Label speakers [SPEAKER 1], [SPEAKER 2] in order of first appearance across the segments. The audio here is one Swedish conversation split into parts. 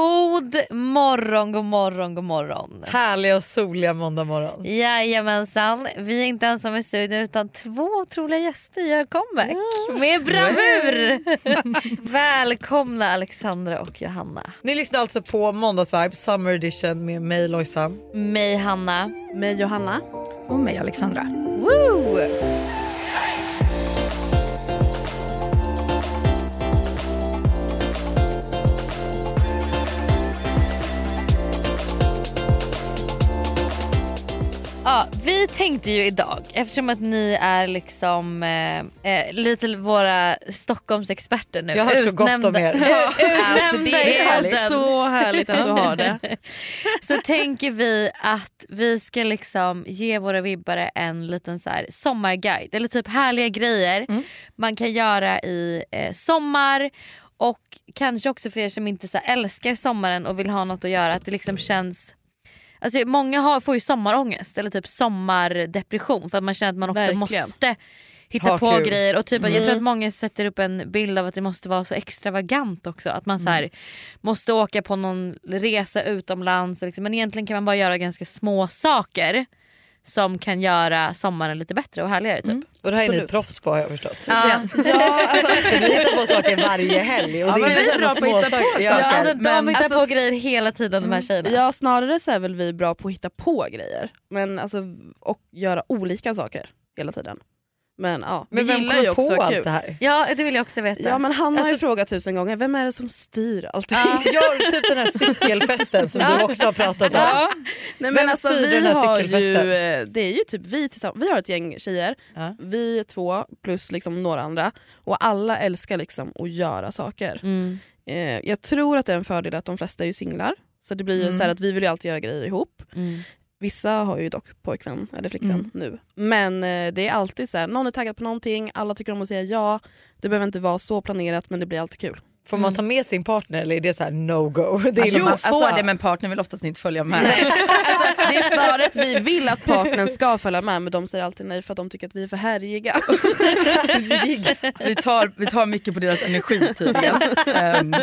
[SPEAKER 1] God morgon, god morgon, god morgon.
[SPEAKER 2] Härliga och soliga måndag morgon.
[SPEAKER 1] Jajamensan, vi är inte ensamma i studion utan två otroliga gäster gör comeback med bravur. Välkomna Alexandra och Johanna.
[SPEAKER 2] Ni lyssnar alltså på Måndagsvibe Summer Edition med mig Lojsan.
[SPEAKER 1] Mig Hanna.
[SPEAKER 3] Med Johanna.
[SPEAKER 4] Och mig Alexandra.
[SPEAKER 1] Woo! Ja, vi tänkte ju idag, eftersom att ni är liksom eh, eh, lite våra Stockholmsexperter nu.
[SPEAKER 2] Jag har hört så gott om er.
[SPEAKER 3] Alltså,
[SPEAKER 1] Utnämnda i
[SPEAKER 3] det är
[SPEAKER 1] podden.
[SPEAKER 3] så härligt att du har det.
[SPEAKER 1] så tänker vi att vi ska liksom ge våra vibbare en liten så här sommarguide eller typ härliga grejer man kan göra i eh, sommar och kanske också för er som inte så här älskar sommaren och vill ha något att göra att det liksom känns Alltså många har, får ju sommarångest eller typ sommardepression för att man känner att man också
[SPEAKER 3] Verkligen.
[SPEAKER 1] måste hitta
[SPEAKER 2] Ha
[SPEAKER 1] på
[SPEAKER 2] kul.
[SPEAKER 1] grejer och typ att jag tror att många sätter upp en bild av att det måste vara så extravagant också att man så här, måste åka på någon resa utomlands och liksom. men egentligen kan man bara göra ganska små saker som kan göra sommaren lite bättre och härligare typ.
[SPEAKER 3] Mm.
[SPEAKER 2] Och det här är ni
[SPEAKER 3] Absolut.
[SPEAKER 2] proffs på har jag förstått.
[SPEAKER 1] Ja.
[SPEAKER 3] Ja, alltså,
[SPEAKER 2] Ni hittar på saker varje helg och
[SPEAKER 3] Ja,
[SPEAKER 2] det
[SPEAKER 3] men
[SPEAKER 2] är
[SPEAKER 3] vi
[SPEAKER 2] inte
[SPEAKER 3] är bra
[SPEAKER 2] några
[SPEAKER 3] på att hitta
[SPEAKER 2] små
[SPEAKER 3] på
[SPEAKER 2] saker.
[SPEAKER 1] Ja,
[SPEAKER 3] saker.
[SPEAKER 1] alltså, de
[SPEAKER 3] Men-
[SPEAKER 1] hittar på
[SPEAKER 3] alltså,
[SPEAKER 1] grejer hela tiden de här tjejerna.
[SPEAKER 3] ja, snarare så är väl vi bra på att hitta på grejer men alltså, och göra olika saker hela tiden. Men ja,
[SPEAKER 2] Men
[SPEAKER 3] vi
[SPEAKER 2] vem
[SPEAKER 3] gillar ju
[SPEAKER 2] kommer
[SPEAKER 3] också
[SPEAKER 2] på
[SPEAKER 3] kul.
[SPEAKER 2] allt det här?
[SPEAKER 1] Ja det vill jag också veta.
[SPEAKER 3] Ja men han har ju
[SPEAKER 2] Alltså-
[SPEAKER 3] frågat tusen gånger, vem är det som styr allting?
[SPEAKER 1] Ja.
[SPEAKER 2] Jag, typ den här cykelfesten som du också har pratat om.
[SPEAKER 3] Nej, alltså,
[SPEAKER 2] Vem styr den här
[SPEAKER 3] har
[SPEAKER 2] cykelfesten?
[SPEAKER 3] ju, eh, det är ju typ vi tillsammans, vi har ett gäng tjejer,
[SPEAKER 2] Ja.
[SPEAKER 3] vi två plus liksom några andra och alla älskar liksom att göra saker.
[SPEAKER 1] Mm.
[SPEAKER 3] Eh, jag tror att det är en fördel att de flesta är ju singlar, så det blir ju så här att vi vill ju alltid göra grejer ihop.
[SPEAKER 1] Mm.
[SPEAKER 3] Vissa har ju dock pojkvän eller flickvän nu. Men eh, det är alltid så här, någon är taggad på någonting, alla tycker om att säga ja. Det behöver inte vara så planerat men det blir alltid kul.
[SPEAKER 2] Får man ta med sin partner eller är det så här no go? Det är när
[SPEAKER 4] Alltså, man
[SPEAKER 2] man
[SPEAKER 4] får det men partnern vill oftast inte följa med.
[SPEAKER 3] Alltså, det är snarare att vi vill att partnern ska följa med men de säger alltid nej för att de tycker att vi är för härjiga.
[SPEAKER 4] Vi tar, vi tar mycket på deras energi tydligen. Ehm,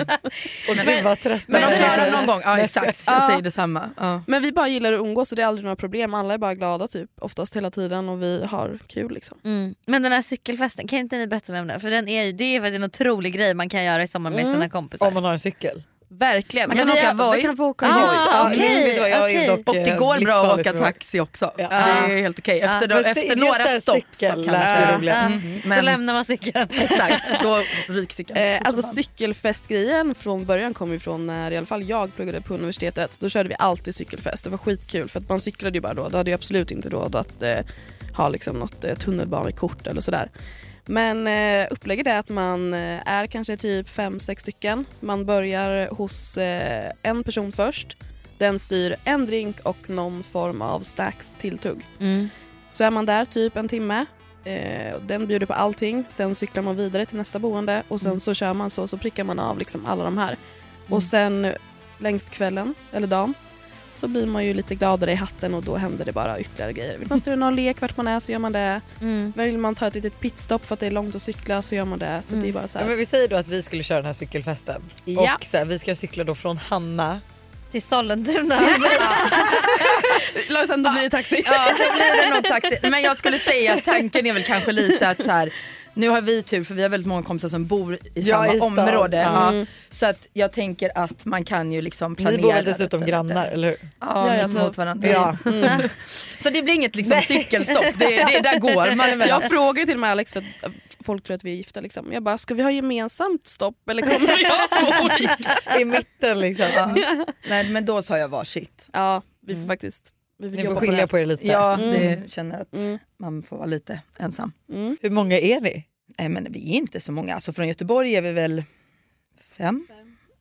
[SPEAKER 2] Och gud vad trött
[SPEAKER 4] men
[SPEAKER 2] man
[SPEAKER 4] de
[SPEAKER 2] är.
[SPEAKER 4] klarar någon gång, ja exakt. Jag
[SPEAKER 3] Ja.
[SPEAKER 4] säger detsamma. Ja.
[SPEAKER 3] Men vi bara gillar att umgås och det är aldrig några problem. Alla är bara glada typ oftast hela tiden och vi har kul liksom.
[SPEAKER 1] Mm. Men den här cykelfesten, kan inte ni berätta mer om den? För den är ju, det är ju faktiskt en otrolig grej man kan göra i sommar med sina kompisar.
[SPEAKER 2] Om man har en cykel.
[SPEAKER 3] Verkligen.
[SPEAKER 4] Man kan åka Voi.
[SPEAKER 3] vi kan få åka
[SPEAKER 1] Ah,
[SPEAKER 3] Voi.
[SPEAKER 2] Ja,
[SPEAKER 1] okej,
[SPEAKER 2] just det, jag är
[SPEAKER 1] okej.
[SPEAKER 2] dock,
[SPEAKER 4] Och det
[SPEAKER 2] eh,
[SPEAKER 4] går bra att
[SPEAKER 2] livsfarlig
[SPEAKER 4] åka
[SPEAKER 2] för mig.
[SPEAKER 4] taxi också.
[SPEAKER 2] Ja.
[SPEAKER 4] Det är helt okej. Efter, då,
[SPEAKER 2] Men se-
[SPEAKER 4] efter
[SPEAKER 2] just
[SPEAKER 4] några
[SPEAKER 2] där
[SPEAKER 4] stopp så
[SPEAKER 2] cykeln
[SPEAKER 4] kanske.
[SPEAKER 2] lär sig roligare.
[SPEAKER 1] Ja, Så
[SPEAKER 4] Men-
[SPEAKER 1] lämnar man cykeln.
[SPEAKER 4] Mm, Exakt, då ryks cykeln.
[SPEAKER 3] Eh, alltså cykelfestgrejen från början kom ju från när i alla fall jag pluggade på universitetet. Då körde vi alltid cykelfest. Det var skitkul för att man cyklade ju bara då. Då hade jag absolut inte råd att eh, ha liksom något eh, tunnelbanekort eller sådär. Men eh, upplägget är att man eh, är kanske typ fem sex stycken. Man börjar hos eh, en person först. Den styr en drink och någon form av snacks tilltugg.
[SPEAKER 1] Mm.
[SPEAKER 3] Så är man där typ en timme. Eh, och den bjuder på allting. Sen cyklar man vidare till nästa boende och
[SPEAKER 2] Mm.
[SPEAKER 3] sen så kör man så, så prickar man av liksom alla de här. Och sen eh, längs kvällen eller dagen så blir man ju lite gladare i hatten och då händer det bara ytterligare grejer. Vill man styra någon lek vart man är så gör man det.
[SPEAKER 1] Mm.
[SPEAKER 3] Vill man ta ett litet pitstop för att det är långt att cykla så gör man det. Så det är bara så
[SPEAKER 2] Ja,
[SPEAKER 3] här.
[SPEAKER 2] men vi säger då att vi skulle köra den här cykelfesten
[SPEAKER 3] Ja.
[SPEAKER 2] och så här, vi ska cykla då från Hanna.
[SPEAKER 1] Till Sollentuna.
[SPEAKER 3] Lojsan, då blir det taxi.
[SPEAKER 4] Ja, då blir det nog taxi. Men jag skulle säga att tanken är väl kanske lite att så här, nu har vi tur för vi har väldigt många kompisar som bor i
[SPEAKER 2] Ja,
[SPEAKER 4] samma
[SPEAKER 2] i stan.
[SPEAKER 4] område. Ja.
[SPEAKER 3] Mm.
[SPEAKER 4] Så att jag tänker att man kan ju liksom planera.
[SPEAKER 2] Ni bor väl dessutom
[SPEAKER 4] lite,
[SPEAKER 2] grannar
[SPEAKER 4] lite.
[SPEAKER 2] eller hur?
[SPEAKER 4] Ja,
[SPEAKER 3] Ja,
[SPEAKER 4] ja,
[SPEAKER 3] alltså-
[SPEAKER 4] mot varandra.
[SPEAKER 2] Ja.
[SPEAKER 4] Så det blir inget liksom cykelstopp, det, det där går man emellan.
[SPEAKER 3] Jag frågar ju till och med Alex för att eh, folk tror att vi är gifta liksom. Jag bara, ska vi ha gemensamt stopp eller kommer vi ha två olika?
[SPEAKER 2] I mitten liksom.
[SPEAKER 4] Ja. Nej men då sa jag varsitt.
[SPEAKER 3] Ja, vi får faktiskt vi vill
[SPEAKER 2] Ni Mm. får
[SPEAKER 3] jobba
[SPEAKER 2] skilja på er lite.
[SPEAKER 4] Ja, det känner att
[SPEAKER 3] det. Mm.
[SPEAKER 4] man får vara lite ensam.
[SPEAKER 3] Mm.
[SPEAKER 2] Hur många är ni?
[SPEAKER 4] Nej men vi är inte så många, alltså från Göteborg är vi väl fem.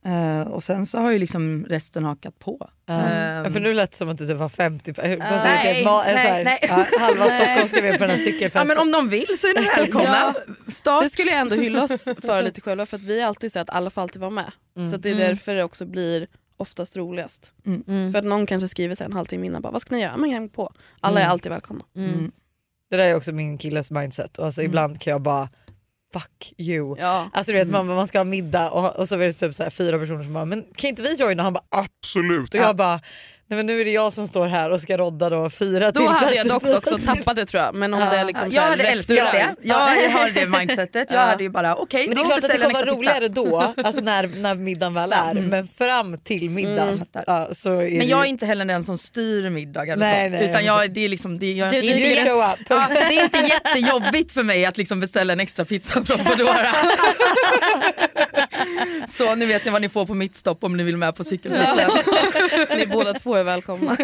[SPEAKER 4] Eh, och sen så har ju liksom resten hakat på.
[SPEAKER 2] Um, Ja, för nu lät det som att du typ var 50 personer.
[SPEAKER 3] Ja.
[SPEAKER 4] Eh, Nej, nej, nej.
[SPEAKER 2] halva
[SPEAKER 4] Nej.
[SPEAKER 2] Stockholm ska med på den här
[SPEAKER 4] Ja
[SPEAKER 2] cykelfesten.
[SPEAKER 4] men om de vill så är ni välkomna. Start.
[SPEAKER 3] Det skulle jag ändå hylla oss för lite själva för att vi är alltid så att alla får alltid vara med. Så att det är
[SPEAKER 1] Mm.
[SPEAKER 3] därför det också blir oftast roligast.
[SPEAKER 1] Mm.
[SPEAKER 3] För att någon kanske skriver så här en halvtimme innan bara vad ska ni göra? Ja, Men häng på. Alla är alltid välkomna.
[SPEAKER 1] Mm.
[SPEAKER 2] Mm. Det där är också min killes mindset och alltså ibland kan jag bara fuck you.
[SPEAKER 3] Ja.
[SPEAKER 2] Alltså du vet man, man ska ha middag och, och så är det typ så här, fyra personer som bara men kan inte vi joina? Och han bara absolut. Och jag bara nej men nu är det jag som står här och ska rodda då fyra
[SPEAKER 3] Då hade jag dock också tappat det tror jag. Men om det är liksom
[SPEAKER 4] jag
[SPEAKER 3] så här
[SPEAKER 4] hade älskat
[SPEAKER 3] restaurang-
[SPEAKER 4] det. Ja, jag har det mindsetet. Jag
[SPEAKER 3] Ja.
[SPEAKER 4] hade ju bara okej,
[SPEAKER 2] Men det är
[SPEAKER 4] då
[SPEAKER 2] klart att det
[SPEAKER 4] beställer
[SPEAKER 2] kommer vara
[SPEAKER 4] jag en extra
[SPEAKER 2] roligare då, alltså när, när middagen väl är. Men fram till middagen ja, så är det
[SPEAKER 4] pizza. Mm. Men jag är
[SPEAKER 2] ju-
[SPEAKER 4] inte heller den som styr middagar och
[SPEAKER 2] Nej,
[SPEAKER 4] sånt.
[SPEAKER 2] nej,
[SPEAKER 4] utan
[SPEAKER 2] men-
[SPEAKER 4] jag, det är liksom, det, jag,
[SPEAKER 1] Du
[SPEAKER 4] det är
[SPEAKER 1] dricker.
[SPEAKER 2] You
[SPEAKER 4] inte-
[SPEAKER 2] show up.
[SPEAKER 4] Ja, det är inte jättejobbigt för mig att liksom beställa en extra pizza från Foodora. Så nu vet ni vad ni får på mitt stopp om ni vill med på cykelfesten.
[SPEAKER 3] Ni båda två är välkomna.